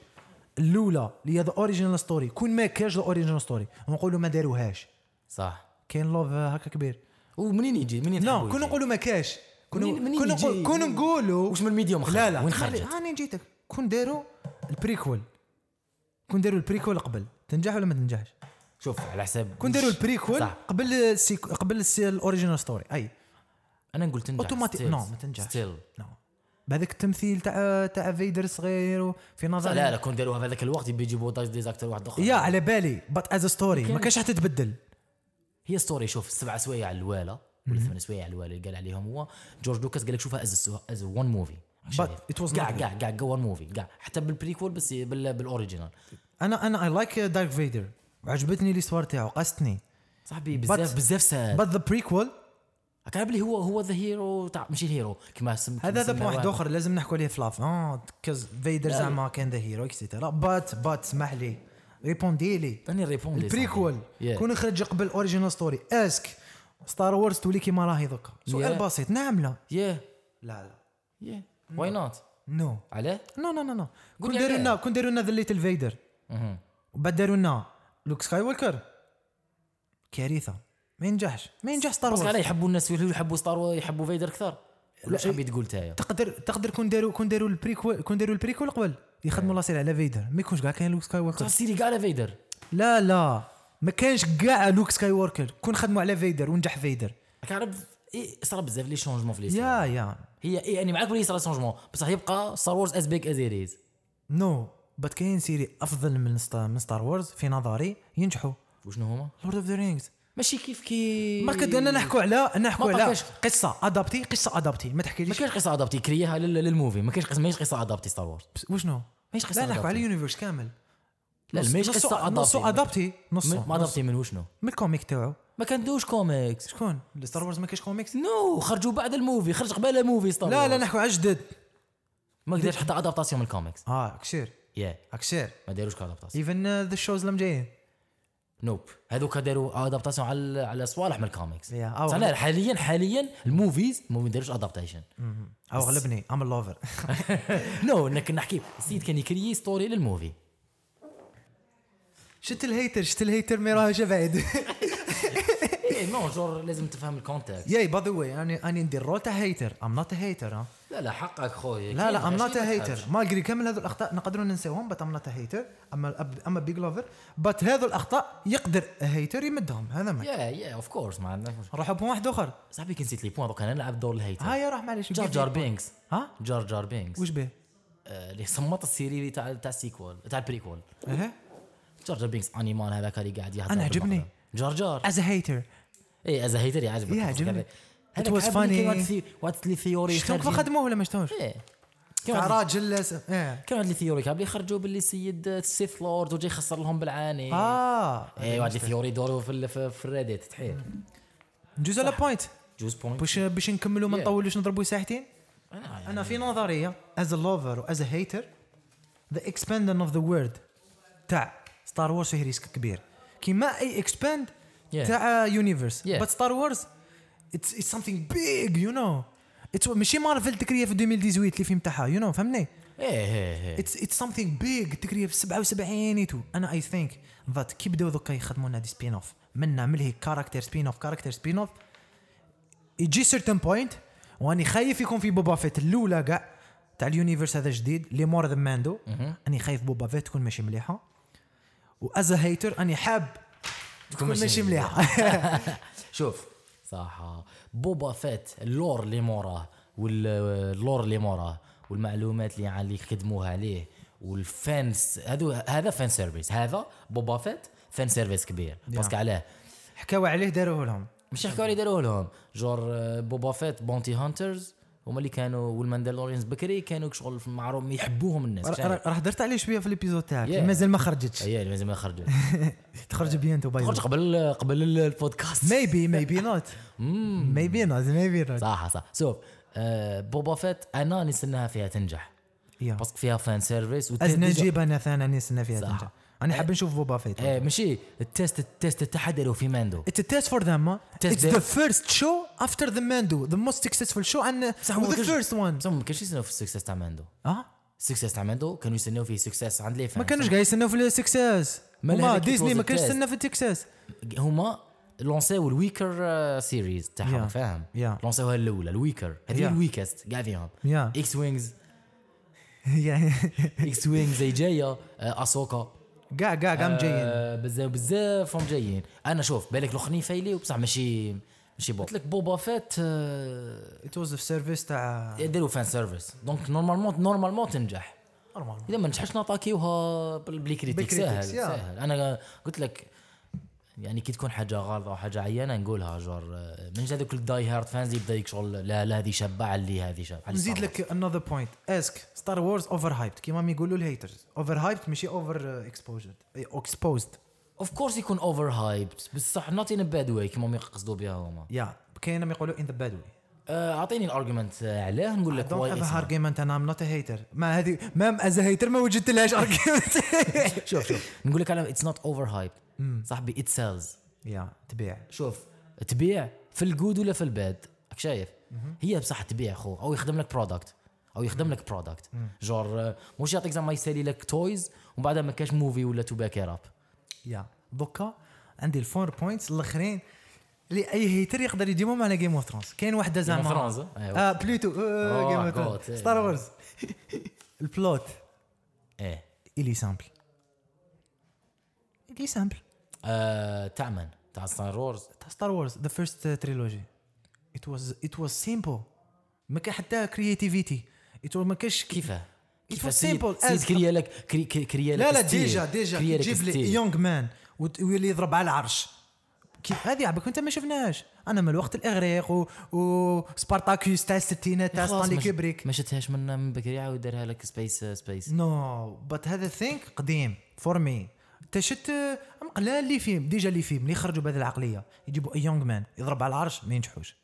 Speaker 1: الاولى اللي هي ذا اوريجينال ستوري كون ما كاش ذا اوريجينال ستوري ونقولوا ما داروهاش
Speaker 2: صح
Speaker 1: كاين لوف هكا كبير
Speaker 2: ومنين يجي منين
Speaker 1: لا
Speaker 2: تحبوا
Speaker 1: كون
Speaker 2: يجي؟
Speaker 1: نقولوا ما كاش كون
Speaker 2: منين- منين
Speaker 1: كون نقول-
Speaker 2: يجي؟
Speaker 1: كون نقولوا
Speaker 2: واش من الميديوم خرج
Speaker 1: لا لا
Speaker 2: وين
Speaker 1: خلي-
Speaker 2: خرجت
Speaker 1: هاني جيتك كون داروا البريكول كون داروا البريكول قبل تنجح ولا ما تنجحش
Speaker 2: شوف على حساب
Speaker 1: كون داروا البريكول
Speaker 2: صح.
Speaker 1: قبل السيك... قبل الس- الاوريجينال ستوري اي
Speaker 2: انا نقول تنجح
Speaker 1: اوتوماتيك
Speaker 2: still.
Speaker 1: نو ما تنجحش
Speaker 2: still.
Speaker 1: نو بهذاك نعم. التمثيل تاع تاع فيدر صغير وفي نظر
Speaker 2: لا لا كون داروها في هذاك الوقت يبي يجيبوا داج دي زاكتور واحد اخر
Speaker 1: يا على بالي بات از ستوري ما
Speaker 2: كانش.
Speaker 1: كانش حتتبدل
Speaker 2: هي ستوري شوف السبع سوايع على الواله ولا ثمان سوايع على الواله اللي قال عليهم هو جورج لوكاس قال لك شوفها از از ون موفي
Speaker 1: it was not
Speaker 2: كاع
Speaker 1: good.
Speaker 2: كاع كاع كاع ون موفي كاع حتى بالبريكول بس بال- بالاوريجينال
Speaker 1: انا انا اي لايك دارك فيدر عجبتني الاستوار تاعو قاستني
Speaker 2: صاحبي بزاف بزاف سهل
Speaker 1: بات ذا بريكول
Speaker 2: كان بلي هو هو ذا هيرو تاع ماشي الهيرو كما سم
Speaker 1: هذا ذا
Speaker 2: سمى
Speaker 1: واحد
Speaker 2: واحد.
Speaker 1: اخر لازم نحكوا عليه في لافون كاز فيدر
Speaker 2: لا.
Speaker 1: زعما كان ذا هيرو اكسيتيرا بات بات اسمح لي ريبوندي لي
Speaker 2: تاني ريبون لي صاحبي.
Speaker 1: البريكول
Speaker 2: Yeah.
Speaker 1: كون خرج قبل اوريجينال ستوري اسك ستار وورز تولي كيما راهي دوكا سؤال
Speaker 2: Yeah.
Speaker 1: بسيط نعم لا
Speaker 2: ياه
Speaker 1: لا لا
Speaker 2: ياه واي نوت
Speaker 1: نو
Speaker 2: علاه
Speaker 1: نو نو نو نو
Speaker 2: قول
Speaker 1: كون
Speaker 2: لي
Speaker 1: داروا
Speaker 2: علاه.
Speaker 1: لنا كون داروا لنا ذا ليتل فيدر
Speaker 2: مهم.
Speaker 1: وبعد داروا لنا لوك سكاي ووكر كارثه ما ينجحش ما ينجح ستار
Speaker 2: بس
Speaker 1: وورز
Speaker 2: علاه يحبوا الناس يوليو يحبوا ستار وورز يحبوا فيدر اكثر ولا واش
Speaker 1: لا،
Speaker 2: حبيت تقول تايا
Speaker 1: تقدر تقدر كون داروا كون داروا البريكول كون داروا البريكول قبل يخدموا لاسير على فيدر ما يكونش كاع كاين لوك سكاي ووكر
Speaker 2: صح سيري كاع على فيدر
Speaker 1: لا لا ما كانش كاع لوك سكاي ووركر كون خدموا على فيدر ونجح فيدر
Speaker 2: كعرف ايه صرا بزاف لي شونجمون في لي
Speaker 1: يا يا
Speaker 2: هي ايه انا معاك بلي صرا شونجمون بصح يبقى ستار وورز از بيج از ات
Speaker 1: نو بات كاين سيري افضل من ستار من ستار وورز في نظري ينجحوا
Speaker 2: وشنو هما
Speaker 1: لورد اوف ذا رينجز
Speaker 2: ماشي كيف كي
Speaker 1: ما كد انا نحكوا على نحكوا
Speaker 2: ما
Speaker 1: على
Speaker 2: طاقاش.
Speaker 1: قصه ادابتي قصه ادابتي ما
Speaker 2: ما
Speaker 1: تحكيليش
Speaker 2: كاينش قصه ادابتي كرياها لل- للموفي ما كاينش قصه ماهيش قصه ادابتي ستار وورز
Speaker 1: وشنو
Speaker 2: ماهيش قصه
Speaker 1: لا نحكوا على
Speaker 2: adapted.
Speaker 1: اليونيفرس كامل
Speaker 2: لا لا، ماهيش
Speaker 1: نصو-
Speaker 2: قصه
Speaker 1: نصو
Speaker 2: ادابتي
Speaker 1: ادابتي نصو
Speaker 2: ما ادابتي من وشنو
Speaker 1: من الكوميك تاعو
Speaker 2: ما كندوش كوميكس
Speaker 1: شكون ستار وورز ما كاينش كوميكس
Speaker 2: نو خرجوا بعد الموفي خرج قبل موفي ستار
Speaker 1: لا لا
Speaker 2: وورز.
Speaker 1: نحكوا على جدد
Speaker 2: ما قدرش حتى ادابتاسيون من الكوميكس
Speaker 1: اه كثير
Speaker 2: يا
Speaker 1: كثير
Speaker 2: ما داروش كادابتاسيون
Speaker 1: ايفن ذا شوز uh, اللي مجايين
Speaker 2: نوب هذوك داروا ادابتاسيون على على صوالح من الكوميكس
Speaker 1: Yeah. آه. أو-
Speaker 2: بصح لا، حاليا حاليا الموفيز ما داروش ادابتيشن
Speaker 1: او غلبني ام لوفر [LAUGHS]
Speaker 2: نو انك نحكي السيد كان يكري ستوري للموفي
Speaker 1: شفت الهيتر شفت الهيتر مي راه جا [LAUGHS] بعيد
Speaker 2: ايه نو جور لازم تفهم الكونتكست
Speaker 1: ياي باي ذا واي اني اني ندير رول تاع هيتر ام نوت هيتر ها
Speaker 2: لا لا حقك خويا
Speaker 1: لا لا ام
Speaker 2: كاين
Speaker 1: نوت
Speaker 2: غشيمة
Speaker 1: هيتر
Speaker 2: حاجة.
Speaker 1: مالغري كامل هذو الاخطاء نقدروا ننساوهم بات ام نوت هيتر اما أب- اما بيج لوفر بات هذو الاخطاء يقدر هيتر يمدهم هذا ما
Speaker 2: يا يا اوف كورس ما عندناش مشكل
Speaker 1: نروحوا بوان واحد اخر
Speaker 2: صاحبي كي نسيت لي بوان دوكا انا نلعب دور الهيتر
Speaker 1: هاي راح معليش
Speaker 2: جار جار بينكس
Speaker 1: ها
Speaker 2: جار جار بينكس
Speaker 1: وش به؟
Speaker 2: آه، اللي صمت السيري تاع تاع السيكول تاع البريكول
Speaker 1: اها
Speaker 2: جار جار بينكس انيمال هذاك اللي قاعد يهضر
Speaker 1: أنا عجبني.
Speaker 2: بالمقدم. جار جار
Speaker 1: از هيتر
Speaker 2: اي از هيتر يعجبك
Speaker 1: يا عجبني. It
Speaker 2: هذاك
Speaker 1: was
Speaker 2: عجبني كي
Speaker 1: funny.
Speaker 2: واحد في- واحد لي ثيوري
Speaker 1: شفتوك
Speaker 2: خارجين.
Speaker 1: خدموه ولا ما شفتوش؟
Speaker 2: إيه. كي
Speaker 1: تاع
Speaker 2: واحد-
Speaker 1: راجل س- ايه
Speaker 2: كان واحد لي ثيوري كامل يخرجوا باللي سيد السيث لورد وجاي يخسر لهم بالعاني
Speaker 1: اه
Speaker 2: اي واحد لي ثيوري دوروا في ال- في في الريديت تحيل
Speaker 1: ندوز على بوينت
Speaker 2: جوز بوينت
Speaker 1: باش باش نكملوا ما
Speaker 2: Yeah.
Speaker 1: نطولوش نضربوا ساعتين
Speaker 2: انا يعني
Speaker 1: انا في نظريه از لوفر واز هيتر ذا اكسباندن اوف ذا وورد تاع ستار وورز فيه ريسك كبير كيما اي اكسباند
Speaker 2: Yeah.
Speaker 1: تاع يونيفرس
Speaker 2: Yeah.
Speaker 1: بس ستار وورز اتس اتس سمثينغ بيج يو نو اتس ماشي مارفل تكريه في 2018 اللي فيلم تاعها يو نو فهمني
Speaker 2: ايه ايه ايه
Speaker 1: اتس اتس سمثينغ بيج تكريه في 77 اي تو انا اي ثينك ذات كي بداو دوكا يخدموا لنا دي سبين اوف منا ملهي كاركتر سبين اوف كاركتر سبين اوف يجي سيرتن بوينت واني خايف يكون في بوبا فيت الاولى كاع تاع اليونيفرس هذا جديد لي مور ذا ماندو اني خايف بوبا فيت تكون ماشي مليحه واز هيتر اني حاب تكون ماشي مليحه [LAUGHS]
Speaker 2: شوف صح بوبا فيت اللور اللي موراه واللور اللي موراه والمعلومات اللي يعني اللي خدموها عليه والفانس هذو هذا فان سيرفيس هذا بوبا فيت فان سيرفيس كبير باسكو علاه
Speaker 1: حكاو عليه داروه لهم
Speaker 2: مش يحكوا لي داروه لهم جور آه، بوبا فيت بونتي هانترز هما اللي كانوا والماندالورينز بكري كانوا شغل معروف يحبوهم الناس
Speaker 1: راه- راه راه درت عليه شويه في الابيزود تاعك
Speaker 2: Yeah.
Speaker 1: مازال ما خرجتش
Speaker 2: اي لازم يخرجوا
Speaker 1: تخرج بيانتو باي
Speaker 2: خرج قبل قبل ال- البودكاست
Speaker 1: ميبي ميبي نوت
Speaker 2: Mm.
Speaker 1: ميبي نوت ميبي نوت
Speaker 2: صح صح شوف آه، بوبا فيت انا نستناها فيها تنجح باسكو فيها فان سيرفيس وت-
Speaker 1: ازنا
Speaker 2: ديجا-
Speaker 1: نجيبها انا ثاني أنا نستنى فيها
Speaker 2: صح.
Speaker 1: تنجح
Speaker 2: Eh.
Speaker 1: انا حاب نشوف بوبا فيت
Speaker 2: آه، ماشي التيست التيست تاعها داروه في ماندو
Speaker 1: It's a test for them huh?
Speaker 2: Eh. Test
Speaker 1: It's
Speaker 2: them.
Speaker 1: the first show after the Mando the most successful show and uh,
Speaker 2: بصح هما
Speaker 1: the
Speaker 2: كاش-
Speaker 1: first one
Speaker 2: بصح هما ما كانش يستناو في السكسس تاع ماندو
Speaker 1: اه
Speaker 2: السكسس تاع ماندو كانوا يستناو فيه سكسس عند لي
Speaker 1: ما
Speaker 2: فان
Speaker 1: كانوش قاعد يستناو في السكسس
Speaker 2: ما
Speaker 1: هما
Speaker 2: هذاك
Speaker 1: ديزني
Speaker 2: it was
Speaker 1: ما
Speaker 2: a
Speaker 1: كانش
Speaker 2: test.
Speaker 1: يستنى في السكسس
Speaker 2: هما لونساو الويكر سيريز آه، تاعهم
Speaker 1: Yeah.
Speaker 2: فاهم
Speaker 1: Yeah.
Speaker 2: لونساوها الاولى الويكر هذه
Speaker 1: Yeah.
Speaker 2: الويكست كاع فيهم
Speaker 1: Yeah.
Speaker 2: اكس وينجز
Speaker 1: [LAUGHS]
Speaker 2: اكس وينجز زي جايه آه، اسوكا
Speaker 1: كاع كاع كاع جايين
Speaker 2: آه، بزاف بزاف هم جايين انا شوف بالك الاخرين فايلي وبصح ماشي ماشي بوب قلت لك بوبا فات آه،
Speaker 1: It was a service uh, تاع
Speaker 2: يديروا فان سيرفيس دونك نورمالمون نورمالمون تنجح
Speaker 1: نورمال
Speaker 2: اذا ما نجحش نطاكيوها بال- بالكريتيك سهل
Speaker 1: بالكريتيك، يا.
Speaker 2: سهل انا قلت لك يعني كي تكون حاجه غلطه وحاجه عيانه نقولها جور آه، منش هذوك الداي هارد فانز يبدا يك شغل لا لا هذه شبع اللي هذه شبع
Speaker 1: نزيد لك انذر بوينت اسك ستار وورز اوفر هايبت كيما ما يقولوا الهيترز اوفر هايبت ماشي اوفر اكسبوجد اكسبوزد
Speaker 2: اوف كورس يكون اوفر هايبد بصح نوت ان باد واي كيما ما يقصدوا بها هما
Speaker 1: يا كاين ما يقولوا ان ذا باد واي
Speaker 2: آه، اعطيني الارجيومنت علاه نقول لك
Speaker 1: دونت
Speaker 2: why
Speaker 1: هاف [LAUGHS]
Speaker 2: it's not.
Speaker 1: ارجيومنت انا ام نوت هيتر ما هذه ما از هيتر ما وجدت لهاش
Speaker 2: [LAUGHS]
Speaker 1: ارجيومنت
Speaker 2: شوف شوف نقول لك على اتس نوت اوفر هايب صاحبي ات سيلز
Speaker 1: يا تبيع
Speaker 2: شوف تبيع في الجود ولا في الباد راك شايف هي بصح تبيع خو او يخدم لك برودكت او يخدم لك برودكت جور آه، مش يعطيك زعما يسالي لك تويز ومن بعدها ما كاش موفي ولا تو باك راب
Speaker 1: يا دوكا عندي الفور بوينتس الاخرين اللي اي هيتر يقدر يديمهم على جيم اوف ثرونز كاين وحده زعما
Speaker 2: Game of Thrones، اه؟ أيوة.
Speaker 1: اه بلوتو
Speaker 2: Oh
Speaker 1: جيم اوف
Speaker 2: God،
Speaker 1: ثرونز
Speaker 2: إيه.
Speaker 1: ستار [LAUGHS] وورز البلوت
Speaker 2: ايه
Speaker 1: الي سامبل الي سامبل
Speaker 2: آه تاع من تاع ستار وورز
Speaker 1: تاع ستار وورز ذا فيرست تريلوجي ات واز ات واز سيمبل ما كان حتى كرياتيفيتي ما كانش
Speaker 2: كيفاه
Speaker 1: It
Speaker 2: كيفاه
Speaker 1: was
Speaker 2: سيد
Speaker 1: simple
Speaker 2: سيد
Speaker 1: as-
Speaker 2: كريا لك كري كري- كريا لك
Speaker 1: لا لا
Speaker 2: steel.
Speaker 1: ديجا ديجا
Speaker 2: كريا لك
Speaker 1: تجيب
Speaker 2: steel.
Speaker 1: لي يونغ مان وت- ويولي يضرب على العرش كي هذه عبك انت ما شفناهاش انا من الوقت الاغريق و, و... سبارتاكيوس تاع الستينات تاع
Speaker 2: خلاص
Speaker 1: ستانلي
Speaker 2: ما ش-
Speaker 1: كوبريك
Speaker 2: ما شفتهاش من من بكري عاود دارها لك سبيس سبيس
Speaker 1: نو بات هذا ثينك قديم فور مي انت شفت مقلا لي فيلم ديجا لي فيلم اللي خرجوا بهذه العقليه يجيبوا يونغ مان يضرب على العرش ما ينجحوش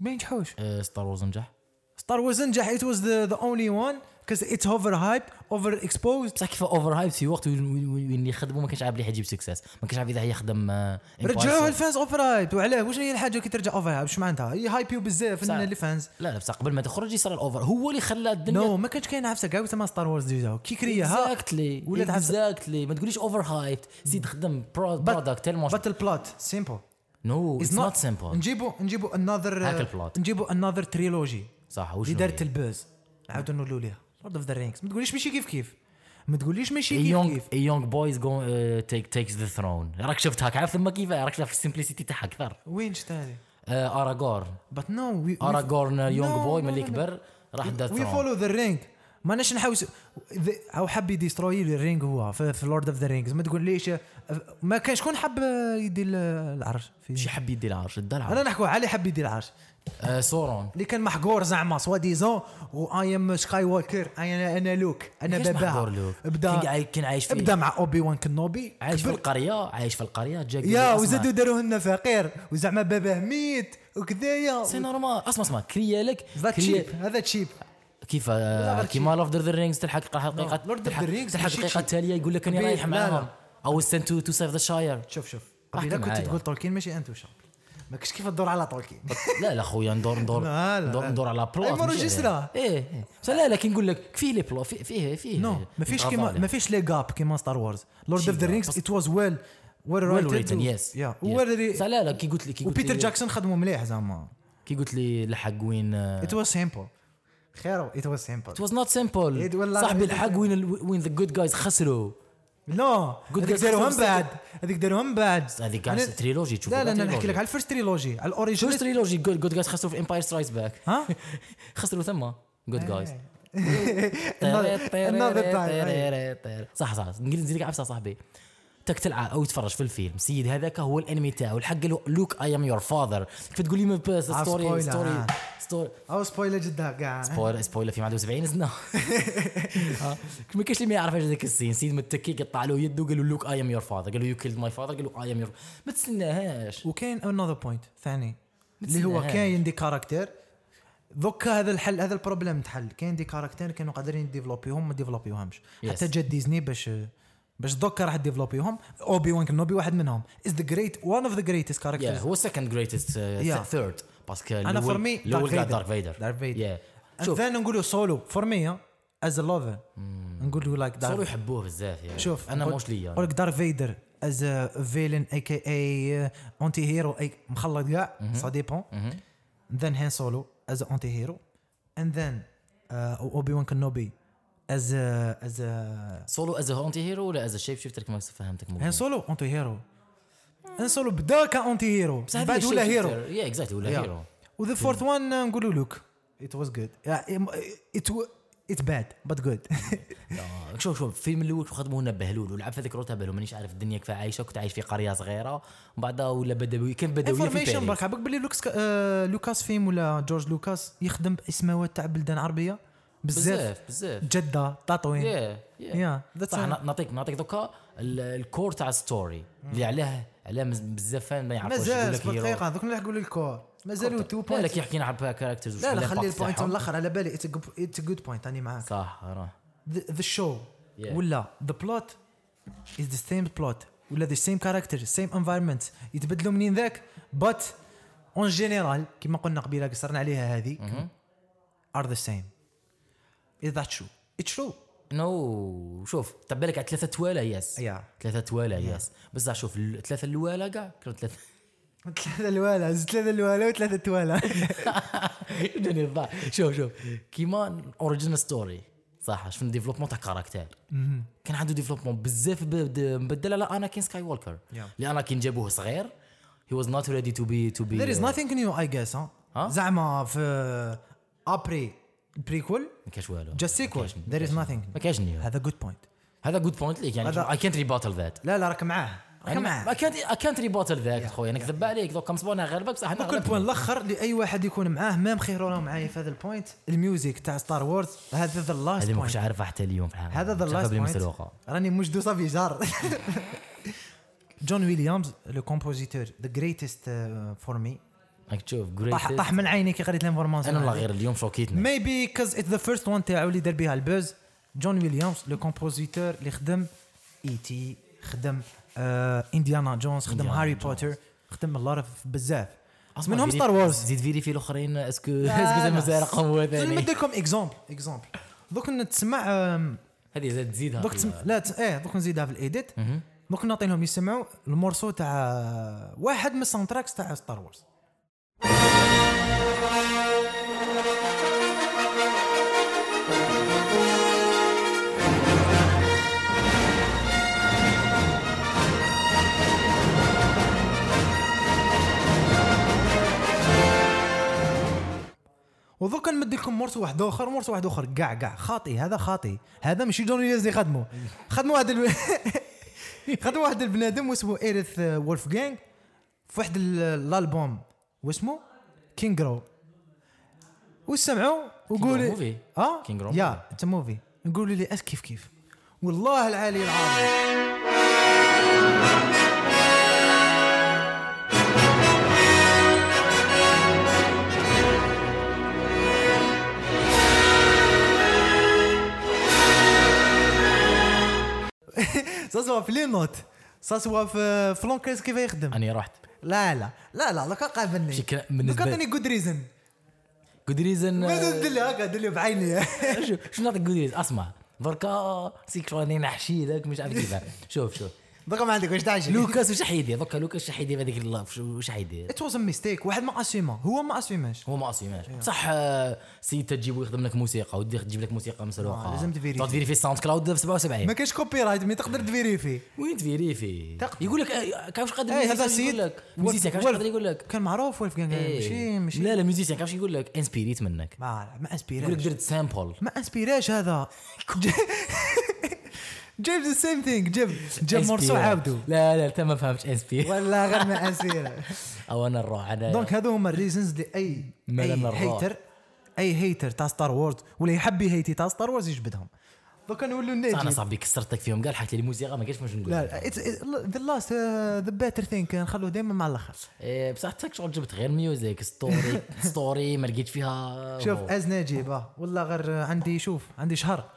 Speaker 1: ما ينجحوش
Speaker 2: ستار وورز آه، نجح
Speaker 1: ستار وورز نجح ات واز ذا اونلي وان كاز اتس اوفر هايب اوفر اكسبوزد
Speaker 2: بصح كيف اوفر هايب في وقت وين- وين وين يخدموا ما كانش عارف ليه حيجيب سكسس ما كانش عارف اذا حيخدم آه،
Speaker 1: رجعوا
Speaker 2: Empire State.
Speaker 1: الفانز اوفر هايب وعلاه واش هي الحاجه كي ترجع اوفر هايب شو معناتها يهايبيو بزاف
Speaker 2: صح.
Speaker 1: ان الفانز
Speaker 2: لا لا بصح قبل ما تخرج يصير الاوفر هو اللي خلى الدنيا
Speaker 1: نو ما كانش كاين عفسه كاع تما ستار وورز ديجا كي
Speaker 2: إيه،
Speaker 1: كريها
Speaker 2: اكزاكتلي
Speaker 1: ولات
Speaker 2: ولات
Speaker 1: عفسة.
Speaker 2: اكزاكتلي ما تقوليش اوفر هايب زيد خدم برودكت تيلمون
Speaker 1: باتل بلوت سيمبل
Speaker 2: نو اتس نوت سيمبل
Speaker 1: نجيبوا نجيبوا انذر
Speaker 2: هاك البلوت.
Speaker 1: نجيبوا انذر تريلوجي
Speaker 2: صح
Speaker 1: اللي
Speaker 2: وشنو
Speaker 1: دارت البوز عاودوا نقولوا ليها لورد اوف ذا رينكس ما تقوليش ماشي كيف كيف ما تقوليش ماشي
Speaker 2: A
Speaker 1: كيف
Speaker 2: young,
Speaker 1: كيف
Speaker 2: a young boy is going uh, take takes the throne. راك شفتها عارف ثم كيف راك شاف السمبلسيتي تاعها آه، اكثر.
Speaker 1: وين شفت هذه
Speaker 2: اراغورن
Speaker 1: بات نو
Speaker 2: اراغورن يونغ
Speaker 1: No,
Speaker 2: بوي
Speaker 1: no,
Speaker 2: ملي
Speaker 1: no, no.
Speaker 2: كبر راح دا
Speaker 1: وي
Speaker 2: ثرون.
Speaker 1: فولو ذا رينك ماناش نحوس ذ- هو حب يديستروي الرينج هو في, في لورد اوف ذا رينجز ما تقول ليش ما كان شكون حب يدير العرش في
Speaker 2: شي حب يدي العرش دا
Speaker 1: انا
Speaker 2: العرش.
Speaker 1: نحكوا علي حب يدير العرش
Speaker 2: آه، سورون
Speaker 1: اللي كان محقور زعما سوا ديزون و اي ام سكاي ووكر انا انا لوك انا
Speaker 2: كيفاش محقور
Speaker 1: باباها
Speaker 2: لوك؟ كان
Speaker 1: بدا
Speaker 2: عاي- كان عايش في
Speaker 1: بدا مع اوبي وان كنوبي
Speaker 2: عايش في
Speaker 1: كبر.
Speaker 2: القريه عايش في القريه جا
Speaker 1: يا
Speaker 2: قال لي
Speaker 1: وزادوا
Speaker 2: اسمع،
Speaker 1: داروا لنا فقير وزعما باباه ميت وكذايا
Speaker 2: سي نورمال اسمع اسمع كريالك
Speaker 1: هذا
Speaker 2: كريا-
Speaker 1: تشيب هذا تشيب
Speaker 2: كيف آه،
Speaker 1: غير
Speaker 2: كيما لورد اوف ذا رينجز تلحق حقيقه
Speaker 1: No, Lord of the
Speaker 2: تلحق-
Speaker 1: Rings
Speaker 2: تلحق
Speaker 1: ماشي
Speaker 2: الحقيقه
Speaker 1: شي.
Speaker 2: التاليه يقول لك اني
Speaker 1: قبيل-
Speaker 2: رايح
Speaker 1: لا،
Speaker 2: معاهم
Speaker 1: لا.
Speaker 2: او سنت تو سيف ذا شاير
Speaker 1: شوف شوف
Speaker 2: احكي
Speaker 1: قبيله كنت
Speaker 2: معايا.
Speaker 1: تقول تولكين ماشي انت وشاب ما كنتش كيف تدور على تولكين
Speaker 2: لا لا خويا ندور ندور
Speaker 1: لا، لا،
Speaker 2: ندور,
Speaker 1: لا.
Speaker 2: ندور على بلوت
Speaker 1: أي مرة
Speaker 2: مش-
Speaker 1: جسرة.
Speaker 2: ايه إيه. بس لا لا كي نقول لك فيه لي بلوت فيه فيه فيه
Speaker 1: نو ما فيش كيما ما فيش لي جاب كيما ستار وورز لورد اوف
Speaker 2: شي
Speaker 1: ذا
Speaker 2: gap.
Speaker 1: رينجز ات واز ويل ويل
Speaker 2: ويل ريتن يس
Speaker 1: يا ويل
Speaker 2: لا لا كي قلت لي كي قلت
Speaker 1: وبيتر
Speaker 2: لي
Speaker 1: جاكسون خدموا مليح زعما
Speaker 2: كي قلت لي الحق وين آه،
Speaker 1: ات واز سيمبل خير ات واز سيمبل
Speaker 2: ات واز نوت
Speaker 1: It was
Speaker 2: سيمبل
Speaker 1: not-
Speaker 2: صاحبي
Speaker 1: it was-
Speaker 2: الحق وين ال- وين ذا جود جايز خسروا
Speaker 1: نو
Speaker 2: Good
Speaker 1: هذيك
Speaker 2: guys
Speaker 1: داروها من
Speaker 2: خسروا
Speaker 1: بعد هذيك داروها من بعد
Speaker 2: هذيك
Speaker 1: أنا-
Speaker 2: قاعد تريلوجي تشوف
Speaker 1: لا لا انا نحكي لك على الفيرست تريلوجي على
Speaker 2: شوف
Speaker 1: الاوريجينال
Speaker 2: تريلوجي جود جايز خسروا في امباير سترايكس باك
Speaker 1: ها
Speaker 2: [LAUGHS] خسروا ثما جود جايز [LAUGHS]
Speaker 1: Another time.
Speaker 2: صح صح نزيد لك عفسه صاحبي تك تلعب او تتفرج في الفيلم السيد هذاك هو الانمي تاعو الحق قال له لوك اي ام يور فاذر كيف تقول لي ما بس
Speaker 1: آه،
Speaker 2: ستوري
Speaker 1: spoiler،
Speaker 2: ستوري
Speaker 1: آه.
Speaker 2: ستوري
Speaker 1: او سبويلر جدا كاع
Speaker 2: سبويلر سبويلر في عنده 70 سنه
Speaker 1: [LAUGHS]
Speaker 2: آه، ما كاش اللي ما يعرف هذاك السين سيد متكي قطع له يده قال له لوك اي ام يور فاذر قال له يو كيلد ماي فاذر قال له اي ام يور ما تستناهاش
Speaker 1: وكاين انذر بوينت ثاني اللي هو
Speaker 2: تسناهاش.
Speaker 1: كاين دي كاركتير دوكا هذا الحل هذا البروبليم تحل كاين دي كاركتير كانوا قادرين يديفلوبيهم ما ديفلوبيوهمش
Speaker 2: Yes.
Speaker 1: حتى جات ديزني باش باش دوكا راح ديفلوبيهم اوبي وان كنوبي واحد منهم از ذا جريت وان اوف ذا جريتست
Speaker 2: Yeah,
Speaker 1: كاركترز
Speaker 2: هو uh, سكند جريتست
Speaker 1: Yeah.
Speaker 2: ثيرد باسكو
Speaker 1: أنا for me,
Speaker 2: الاول
Speaker 1: Darth
Speaker 2: قاعد
Speaker 1: Vader.
Speaker 2: دارك فيدر
Speaker 1: Darth Vader.
Speaker 2: شوف
Speaker 1: ذان نقولوا سولو فور مي از ا لوفر
Speaker 2: Hmm.
Speaker 1: نقولوا لايك
Speaker 2: صاروا يحبوه بزاف يعني
Speaker 1: شوف
Speaker 2: انا
Speaker 1: نقول-
Speaker 2: موش ليا
Speaker 1: نقول
Speaker 2: يعني.
Speaker 1: لك دار فيدر از فيلن اي كي اي اونتي هيرو اي uh, مخلط كاع سا ديبون ذن هان سولو از اونتي هيرو اند ذن اوبي وان كنوبي از از
Speaker 2: سولو از اونتي هيرو ولا از شيب شيفتر كما فهمتك
Speaker 1: هان سولو اونتي هيرو هان سولو بدا كاونتي هيرو بعد
Speaker 2: e
Speaker 1: ولا هيرو
Speaker 2: يا اكزاكتلي ولا
Speaker 1: Yeah.
Speaker 2: هيرو
Speaker 1: وذا فورث وان نقولوا لوك ات واز جود ات ات باد بات [LAUGHS] جود
Speaker 2: آه، شوف شوف الفيلم الاول كيف خدموه لنا بهلول ولعب في هذيك روتا بهلول مانيش عارف الدنيا كيف عايشه كنت عايش في قريه صغيره ومن بعدها ولا بدوي كان بدويه في
Speaker 1: انفورميشن
Speaker 2: باريس
Speaker 1: برك عباك باللي لوكس آه، لوكاس فيم ولا جورج لوكاس يخدم اسماوات تاع بلدان عربيه بزاف
Speaker 2: بزاف طيب، بزاف
Speaker 1: جده تطوين
Speaker 2: يا يا
Speaker 1: يا ذاتس
Speaker 2: صح نا- نعطيك نعطيك دوكا ال- الكور تاع ستوري اللي علاه علاه مز- بزاف فان ما يعرفوش
Speaker 1: مازال
Speaker 2: يقول لك
Speaker 1: سبع
Speaker 2: هيرو
Speaker 1: دقيقه دوك نروح نقول الكور مازالوا تو
Speaker 2: لا لا
Speaker 1: بوينت
Speaker 2: كي حكينا على الكاركترز
Speaker 1: لا لا خلي البوينت من الاخر على بالي اتس جود بوينت راني معاك
Speaker 2: صح راه
Speaker 1: ذا شو
Speaker 2: Yeah.
Speaker 1: ولا ذا بلوت از ذا سيم بلوت ولا ذا سيم كاركتر سيم انفايرمنت يتبدلوا منين ذاك بات اون جينيرال كما قلنا قبيله قصرنا عليها هذه ار ذا سيم از ذات شو اتس شو
Speaker 2: نو شوف طب بالك على ثلاثة توالا يس
Speaker 1: Yeah.
Speaker 2: ثلاثة توالا يس بصح شوف الثلاثة الوالا كاع كانوا ثلاثة
Speaker 1: [LAUGHS] ثلاثة الوالا زوج ثلاثة الوالا وثلاثة توالا
Speaker 2: [LAUGHS] بدني الضاع شوف شوف كيما اوريجينال ستوري صح شفنا ديفلوبمون تاع كاركتير كان عنده ديفلوبمون بزاف ب- د- مبدل على اناكين سكاي ووكر
Speaker 1: Yeah.
Speaker 2: لاناكين جابوه صغير هي واز نوت ريدي تو بي تو بي
Speaker 1: [LAUGHS] There is nothing new I guess ها
Speaker 2: ها؟
Speaker 1: زعما في ابري بريكول
Speaker 2: ما كاش والو
Speaker 1: just sequel
Speaker 2: ما كاش-
Speaker 1: there is nothing
Speaker 2: ما كاش نيو
Speaker 1: هذا good point
Speaker 2: هذا جود بوينت ليك يعني
Speaker 1: هذا-
Speaker 2: اي كانت ريباتل ذات
Speaker 1: لا لا راك معاه راك معاه
Speaker 2: اي كانت اي كانت ريباتل ذاك خويا انا كذب عليك دوك مصبون على غلبك بصح انا
Speaker 1: كل بوين الاخر لاي واحد يكون معاه مام خير راه معايا في هذا البوينت الميوزك تاع ستار وورز هذا ذا لاست
Speaker 2: هذه ما كنتش
Speaker 1: بوينت
Speaker 2: عارفها حتى اليوم في الحلقه
Speaker 1: هذا ذا
Speaker 2: كنت عارفها
Speaker 1: لاست
Speaker 2: بلي
Speaker 1: بوينت
Speaker 2: مسروقه
Speaker 1: راني مجدو صافي جار [LAUGHS] جون ويليامز لو كومبوزيتور ذا جريتست فور مي
Speaker 2: راك تشوف
Speaker 1: uh, طاح
Speaker 2: greatest.
Speaker 1: طاح من عيني كي قريت
Speaker 2: انا والله
Speaker 1: الانفورماسيون
Speaker 2: غير اليوم شوكيتني
Speaker 1: ميبي كاز اتس ذا فيرست وان تاعو اللي دار بها البوز جون ويليامز لو كومبوزيتور اللي خدم اي تي خدم آه انديانا جونز خدم
Speaker 2: إنديانا
Speaker 1: هاري
Speaker 2: جونز.
Speaker 1: بوتر خدم لارف بزاف
Speaker 2: أصلاً
Speaker 1: منهم
Speaker 2: فيري-
Speaker 1: ستار وورز
Speaker 2: زيد فيريفي الاخرين اسكو
Speaker 1: لا،
Speaker 2: [LAUGHS] اسكو
Speaker 1: لا.
Speaker 2: مازال رقم هو ثاني
Speaker 1: نمد لكم اكزومبل اكزومبل دوك نتسمع آم،
Speaker 2: هذه آه، زاد تزيدها
Speaker 1: دوك تسمع لا تس- ايه دوك نزيدها في الايديت دوك نعطي لهم يسمعوا المورسو تاع آه، واحد من الساوند تراكس تاع ستار وورز وذوك نمد لكم مورس واحد اخر مورس واحد اخر كاع كاع خاطي هذا خاطي هذا ماشي جون ويليامز اللي خدمه خدموا واحد الب... خدموا واحد البنادم واسمه ايريث وولف جانج في واحد ال- الالبوم واسمه كينغرو وسمعوا وقولوا
Speaker 2: Row movie.
Speaker 1: اه
Speaker 2: King Row
Speaker 1: يا اتس موفي نقولوا لي اس كيف كيف والله العالي العظيم سا سوا في لي نوت سا سوا في في لونكريس كيف يخدم
Speaker 2: اني رحت
Speaker 1: لا لا لا لا لك قابلني
Speaker 2: بشكل- بالنسبة-
Speaker 1: عطيني جود ريزن
Speaker 2: جود ريزن
Speaker 1: دلي هكا دلي بعيني
Speaker 2: شنو آه، نعطيك جود ريزن اسمع دركا سيك شغل راني نحشي ذاك مش عارف كيفاه شوف
Speaker 1: [LAUGHS]
Speaker 2: شوف
Speaker 1: دوكا ما عندك واش تعجب
Speaker 2: [LAUGHS] لوكاس وش حيدير دركا لوكاس وش حيدير هذيك اللاف وش حيدير
Speaker 1: ات واز ميستيك واحد ما اسيما هو ما اسيماش
Speaker 2: هو ما اسيماش صح آه، سي تجيب ويخدم لك موسيقى ودي تجيب لك موسيقى مسروقه
Speaker 1: آه، لازم تفيريفي.
Speaker 2: تقعد تفيريفي الساوند كلاود في 77
Speaker 1: ما كاينش كوبي رايت مي تقدر تفيريفي
Speaker 2: وين تفيريفي
Speaker 1: تقدر.
Speaker 2: يقول لك آه، كاش قادر
Speaker 1: إيه، هذا
Speaker 2: الميوزيسيان
Speaker 1: سيد.
Speaker 2: يقول لك
Speaker 1: ولف-
Speaker 2: ميوزيسيان كاش
Speaker 1: ولف.
Speaker 2: قادر يقول لك
Speaker 1: كان معروف ولف كان
Speaker 2: إيه.
Speaker 1: ماشي ماشي
Speaker 2: لا لا ميوزيسيان كاش يقول لك انسبيريت منك
Speaker 1: ما ما
Speaker 2: يقول لك
Speaker 1: انسبيراش
Speaker 2: درت سامبل
Speaker 1: ما انسبيراش هذا [LAUGHS] جيب ذا سيم ثينك جيب جيب مورسو عاودو
Speaker 2: لا لا انت ما فهمتش انسبير
Speaker 1: والله غير ما انسيرا
Speaker 2: او انا الروع انا
Speaker 1: دونك هذو هما الريزنز لاي
Speaker 2: ملل
Speaker 1: اي
Speaker 2: الراح.
Speaker 1: هيتر اي هيتر تاع ستار وورز ولا يحب هيتي تاع ستار وورز يجبدهم دوكا نولوا
Speaker 2: انا
Speaker 1: نجي
Speaker 2: صاحبي كسرتك فيهم قال حكيت لي الموسيقى ما كاينش واش نقول
Speaker 1: لا ذا لاست ذا بيتر ثينك نخلوه دائما مع الاخر
Speaker 2: إيه، بصح تك شغل جبت غير
Speaker 1: [LAUGHS]
Speaker 2: ميوزك ستوري ستوري ما لقيت فيها
Speaker 1: شوف
Speaker 2: هو.
Speaker 1: از نجيب آه، والله غير آه، عندي شوف عندي شهر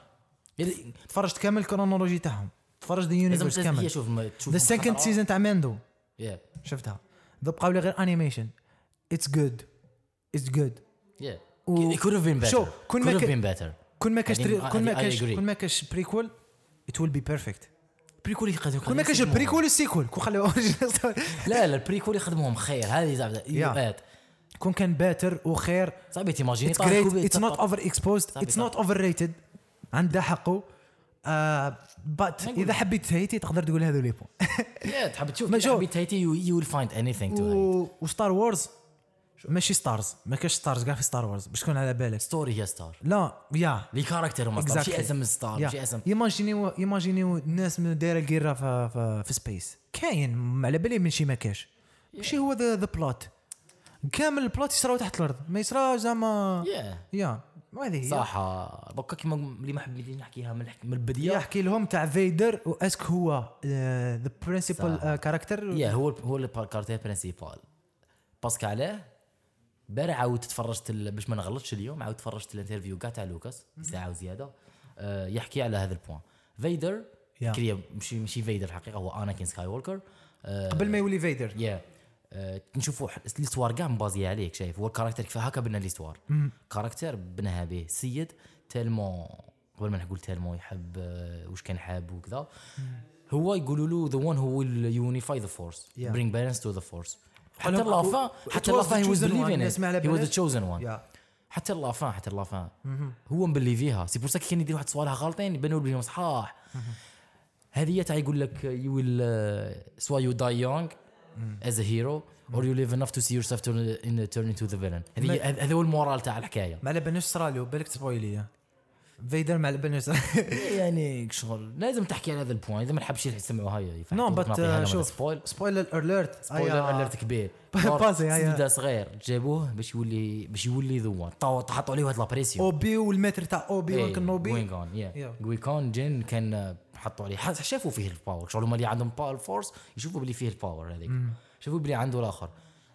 Speaker 2: يعني
Speaker 1: تفرجت كامل الكرونولوجي تاعهم تفرجت ذا
Speaker 2: لازم
Speaker 1: يونيفرس
Speaker 2: تستنى
Speaker 1: كامل
Speaker 2: شوف ما تشوف
Speaker 1: ذا سكند
Speaker 2: خطرة.
Speaker 1: سيزون تاع ماندو
Speaker 2: Yeah,
Speaker 1: شفتها بقاو لي غير انيميشن اتس جود اتس جود
Speaker 2: yeah.
Speaker 1: و-
Speaker 2: It could have been better.
Speaker 1: شوف، كون ما
Speaker 2: Could have
Speaker 1: كان-
Speaker 2: been better.
Speaker 1: كل ما كاش
Speaker 2: هذه-
Speaker 1: تري- كل ما
Speaker 2: هذه يعني I
Speaker 1: كاش
Speaker 2: agree.
Speaker 1: كل ما كاش بريكول ات ويل بي بيرفكت
Speaker 2: بريكول يقدر
Speaker 1: كل ما كاش البريكول والسيكول كون خليو
Speaker 2: لا لا البريكول يخدمهم خير هذه زعما يوقات
Speaker 1: [LAUGHS] كون كان باتر وخير
Speaker 2: صعيب تيماجيني
Speaker 1: اتس جريت اتس نوت اوفر اكسبوزد
Speaker 2: صافي،
Speaker 1: اتس نوت اوفر ريتد عنده حقه بات
Speaker 2: نقول.
Speaker 1: اذا حبيت تهيتي تقدر تقول هذو لي بوان
Speaker 2: [LAUGHS] تحب تشوف
Speaker 1: ما شوف.
Speaker 2: تحب تايتي يو ويل فايند اني ثينغ تو
Speaker 1: و- وستار وورز ماشي ستارز ما كاش ستارز كاع في ستار وورز باش تكون على بالك
Speaker 2: ستوري هي ستار
Speaker 1: لا يا
Speaker 2: لي كاركتر هما ستار ماشي اسم ستار ماشي اسم
Speaker 1: ايماجينيو ايماجينيو الناس من دايره القيره في, في, في سبيس كاين على بالي من شي ما كاش ماشي هو ذا ذا بلوت كامل البلوت يصراو تحت الارض ما يصراو زعما
Speaker 2: Yeah.
Speaker 1: يا هذه هي
Speaker 2: صح دوكا كيما اللي ما حبيت نحكيها من الحك- من البدايه
Speaker 1: يحكي لهم تاع فيدر واسك هو آه، ذا
Speaker 2: صح.
Speaker 1: برينسيبال كاركتر
Speaker 2: يا هو هو الكارتير برينسيبال باسكو علاه امبارح عاود تفرجت ال- باش ما نغلطش اليوم عاود تفرجت الانترفيو كاع تاع لوكاس ساعه وزياده آه، يحكي على هذا البوان فيدر
Speaker 1: يا.
Speaker 2: كريا ماشي ماشي فيدر الحقيقه هو آه، اناكين سكاي وولكر
Speaker 1: قبل ما يولي فيدر
Speaker 2: يا آه، نشوفوا ح- الاستوار كاع مبازيه عليك شايف هو الكاركتر كيف هكا بنا الاستوار كاركتر بناها به سيد تالمون قبل ما نقول تالمون يحب آه، واش كان حاب وكذا هو يقولوا له ذا وان هو يونيفاي ذا فورس
Speaker 1: Yeah.
Speaker 2: برينغ بالانس تو ذا فورس حتى
Speaker 1: قالهم-
Speaker 2: لافا
Speaker 1: It
Speaker 2: حتى
Speaker 1: was
Speaker 2: لافا
Speaker 1: the
Speaker 2: هي واز
Speaker 1: chosen one.
Speaker 2: بليفين
Speaker 1: الناس ما على
Speaker 2: هي واز ذا
Speaker 1: بالهاش.
Speaker 2: تشوزن وان
Speaker 1: يا.
Speaker 2: حتى لافان حتى لافان هو مبليفيها سي بور سا كي كان يدير واحد صوالح غالطين يبانوا بلي صحاح هذه تاع يقول لك uh, يو ويل سوا يو داي يونغ از ا هيرو اور يو ليف انف تو سي يور سيلف ان تيرن انتو ذا فيلن هذه
Speaker 1: ما-
Speaker 2: هذا هو المورال تاع الحكايه
Speaker 1: ما على بالناش صرالو بالك تسبويلي فيدر ما على بالناش [LAUGHS]
Speaker 2: يعني شغل لازم تحكي على هذا البوان اذا ما نحبش يسمعوا هاي
Speaker 1: نو بات شوف
Speaker 2: سبويل
Speaker 1: سبويلر اليرت
Speaker 2: سبويلر
Speaker 1: آه،
Speaker 2: اليرت كبير
Speaker 1: [LAUGHS] بازي، آه، هيا.
Speaker 2: سيدا صغير جابوه باش يولي باش يولي ذوان طاو- حطوا عليه واحد لابريسيون
Speaker 1: اوبي والمتر تاع اوبي
Speaker 2: إيه،
Speaker 1: وكنوبي نوبي
Speaker 2: جوينغون يا
Speaker 1: Yeah.
Speaker 2: جويكون جين كان آه، حطوا عليه حس- شافوا فيه الباور شغل هما اللي عندهم باور فورس يشوفوا بلي فيه الباور هذيك شافوا بلي عنده الاخر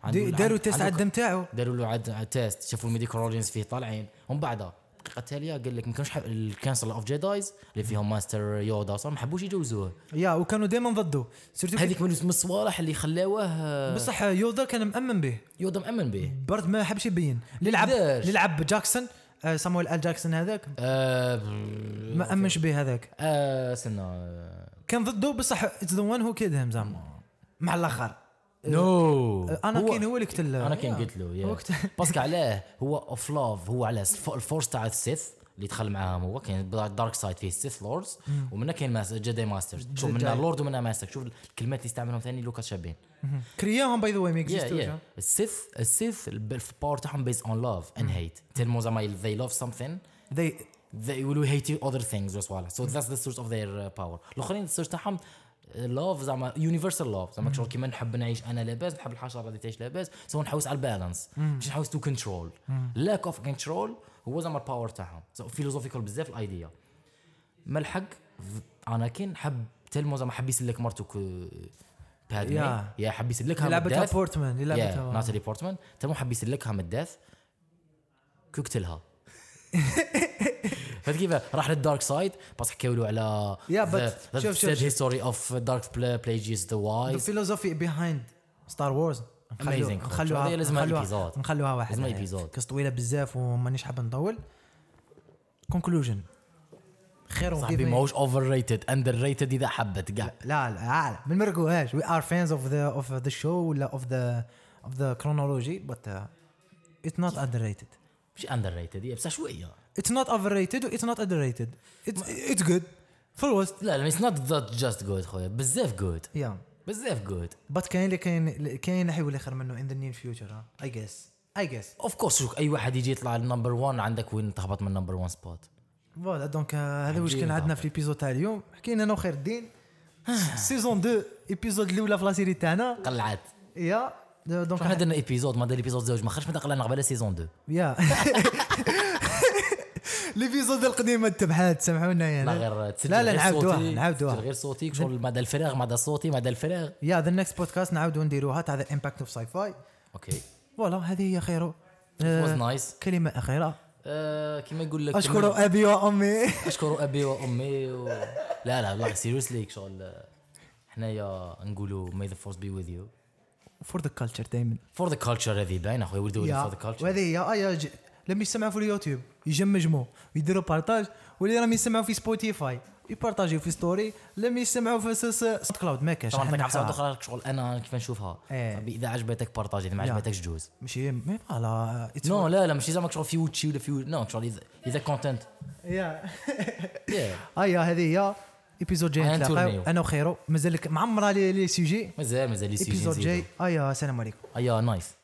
Speaker 2: عنده-
Speaker 1: دي-
Speaker 2: عنده-
Speaker 1: داروا تيست
Speaker 2: عنده
Speaker 1: على الدم تاعو
Speaker 2: داروا له عد عد تيست شافوا الميديكورولوجينز فيه طالعين ومن بعدها الدقيقه التاليه قال لك ما كانش حب- الكانسل اوف جيدايز اللي فيهم ماستر يودا صار ما حبوش يجوزوه
Speaker 1: يا وكانوا دائما ضده سيرتو
Speaker 2: هذيك من من الصوالح اللي خلاوه آه،
Speaker 1: بصح يودا كان مأمن به
Speaker 2: يودا مأمن به
Speaker 1: برد ما حبش يبين للعب
Speaker 2: ليش؟
Speaker 1: للعب جاكسون آه، سامويل ال جاكسون هذاك
Speaker 2: آه،
Speaker 1: ما امنش به هذاك
Speaker 2: آه، استنى آه،
Speaker 1: كان ضده بصح اتس ذا وان هو كيد هيم زعما مع الاخر
Speaker 2: نو
Speaker 1: انا كاين هو اللي قتل
Speaker 2: انا كان قلت له
Speaker 1: وقت-
Speaker 2: yeah. باسكو علاه هو اوف لاف هو على الف- الفورس تاع السيث اللي دخل معاهم هو كاين دارك سايد فيه السيث لوردز ومنها كاين ماس- جداي ماسترز شوف منها
Speaker 1: جداي.
Speaker 2: لورد ومنها ماستر شوف الكلمات اللي استعملهم ثاني لوكاس شابين
Speaker 1: كرياهم باي ذا واي ما
Speaker 2: yeah,
Speaker 1: اكزيستوش
Speaker 2: yeah. السيث السيث الب- الباور تاعهم بيز اون لاف اند هيت تلمو زعما they love something
Speaker 1: they
Speaker 2: they will hate other things وصوالح so that's the source of their uh, power الاخرين السورس تاعهم لاف زعما يونيفرسال لاف زعما شغل كيما نحب نعيش انا لاباس نحب الحشره اللي تعيش لاباس سو نحوس على البالانس مش نحوس تو كنترول لاك اوف كنترول هو زعما الباور تاعهم سو فيلوزوفيكال بزاف الايديا ما الحق اناكين حب تلمو زعما حب يسلك مرتو ك- بادمي
Speaker 1: Yeah.
Speaker 2: يا حب يسلكها من
Speaker 1: لعبتها
Speaker 2: الداف.
Speaker 1: بورتمان
Speaker 2: يا
Speaker 1: لعبتها
Speaker 2: ناتالي بورتمان تم حب يسلكها من الداث
Speaker 1: [LAUGHS]
Speaker 2: كوكتلها فهمت كيف راح للدارك سايد بس حكيوا له على
Speaker 1: يا but- شوف- شوف- شوف.
Speaker 2: هيستوري اوف دارك بلاجيز ذا
Speaker 1: ذا
Speaker 2: وايز
Speaker 1: فيلوزوفي بيهايند ستار وورز
Speaker 2: Amazing. هذه لازم
Speaker 1: نخلوها
Speaker 2: episode.
Speaker 1: نخلوها واحد
Speaker 2: لازم
Speaker 1: يعني.
Speaker 2: episode.
Speaker 1: قصة طويله بزاف ومانيش حاب نطول كونكلوجن خير
Speaker 2: صاحبي
Speaker 1: وكيف-
Speaker 2: ماهوش اوفر ريتد اندر ريتد اذا حبت كاع
Speaker 1: لا لا عالم ما نمرقوهاش وي ار فانز اوف ذا اوف ذا شو ولا اوف ذا اوف ذا كرونولوجي بس اتس نوت اندر ريتد
Speaker 2: مش إيه، اندر ريتد هي بصح شويه
Speaker 1: اتس نوت اوفر ريتد اتس نوت اندر ريتد اتس جود في الوسط
Speaker 2: لا لا اتس نوت ذات جاست جود خويا بزاف جود
Speaker 1: يا
Speaker 2: بزاف جود
Speaker 1: بس كاين اللي كاين كاين اللي حيولي خير منه ان ذا نير فيوتشر اي جيس اي جيس
Speaker 2: اوف كورس اي واحد يجي يطلع النمبر 1 عندك وين تهبط من النمبر 1 سبوت
Speaker 1: فوالا دونك آه، هذا واش كان
Speaker 2: عندي
Speaker 1: عندنا
Speaker 2: طاقة.
Speaker 1: في ليبيزود تاع اليوم حكينا انا وخير الدين [SIGHS] سيزون 2 ايبيزود الاولى في لا سيري تاعنا
Speaker 2: قلعت
Speaker 1: يا دونك
Speaker 2: احنا درنا ايبيزود ما دار ايبيزود زوج ما خرجش من قلعنا قبل سيزون 2
Speaker 1: يا [LAUGHS] ليبيزود القديمه تبعات سامحونا يعني
Speaker 2: لا غير تسجل
Speaker 1: لا لا
Speaker 2: غير
Speaker 1: نعاودوها
Speaker 2: صوتي، تسجل
Speaker 1: نعاودوها
Speaker 2: غير صوتي شغل مدى الفراغ مدى صوتي مدى الفراغ
Speaker 1: يا ذا نكست بودكاست نعاودو نديروها تاع ذا امباكت اوف ساي فاي
Speaker 2: اوكي
Speaker 1: فوالا هذه هي خيرو
Speaker 2: واز
Speaker 1: آه،
Speaker 2: نايس
Speaker 1: كلمه اخيره
Speaker 2: آه، كيما يقول لك
Speaker 1: اشكر ابي [LAUGHS] وامي
Speaker 2: اشكر ابي وامي و... لا لا والله سيريسلي شغل آه، حنايا نقولوا ماي ذا فورس بي وذ يو
Speaker 1: فور ذا كلتشر دائما
Speaker 2: فور ذا كلتشر هذه باينه اخويا وير دوينغ فور ذا كلتشر
Speaker 1: وهذه آه، هي ايا ج- لما يسمعوا في اليوتيوب يجمجموا ويديروا بارتاج واللي راهم يسمعوا في سبوتيفاي يبارطاجيو في ستوري لما يسمعوا في ساوند كلاود ما كاش
Speaker 2: طبعا
Speaker 1: إحنا
Speaker 2: نعطيك عفسه
Speaker 1: نحاها.
Speaker 2: اخرى شغل انا كيف نشوفها
Speaker 1: إيه.
Speaker 2: صاحبي، اذا عجبتك بارطاجي اذا ما عجبتكش جوز
Speaker 1: ماشي مي فوالا it's-
Speaker 2: نو لا لا ماشي زعما شغل فيوتشي ولا فيو نو شغل اذا اذا كونتنت
Speaker 1: [LAUGHS] يا.
Speaker 2: يا
Speaker 1: ايا هذه هي ايبيزود جاي
Speaker 2: أنا
Speaker 1: نتلاقاو
Speaker 2: نتورنيو.
Speaker 1: انا وخيرو مازال لك معمره لي لي سيجي
Speaker 2: مازال مازال لي سيجي
Speaker 1: ايبيزود جاي
Speaker 2: نزيدو آه،
Speaker 1: ايا السلام عليكم
Speaker 2: ايا نايس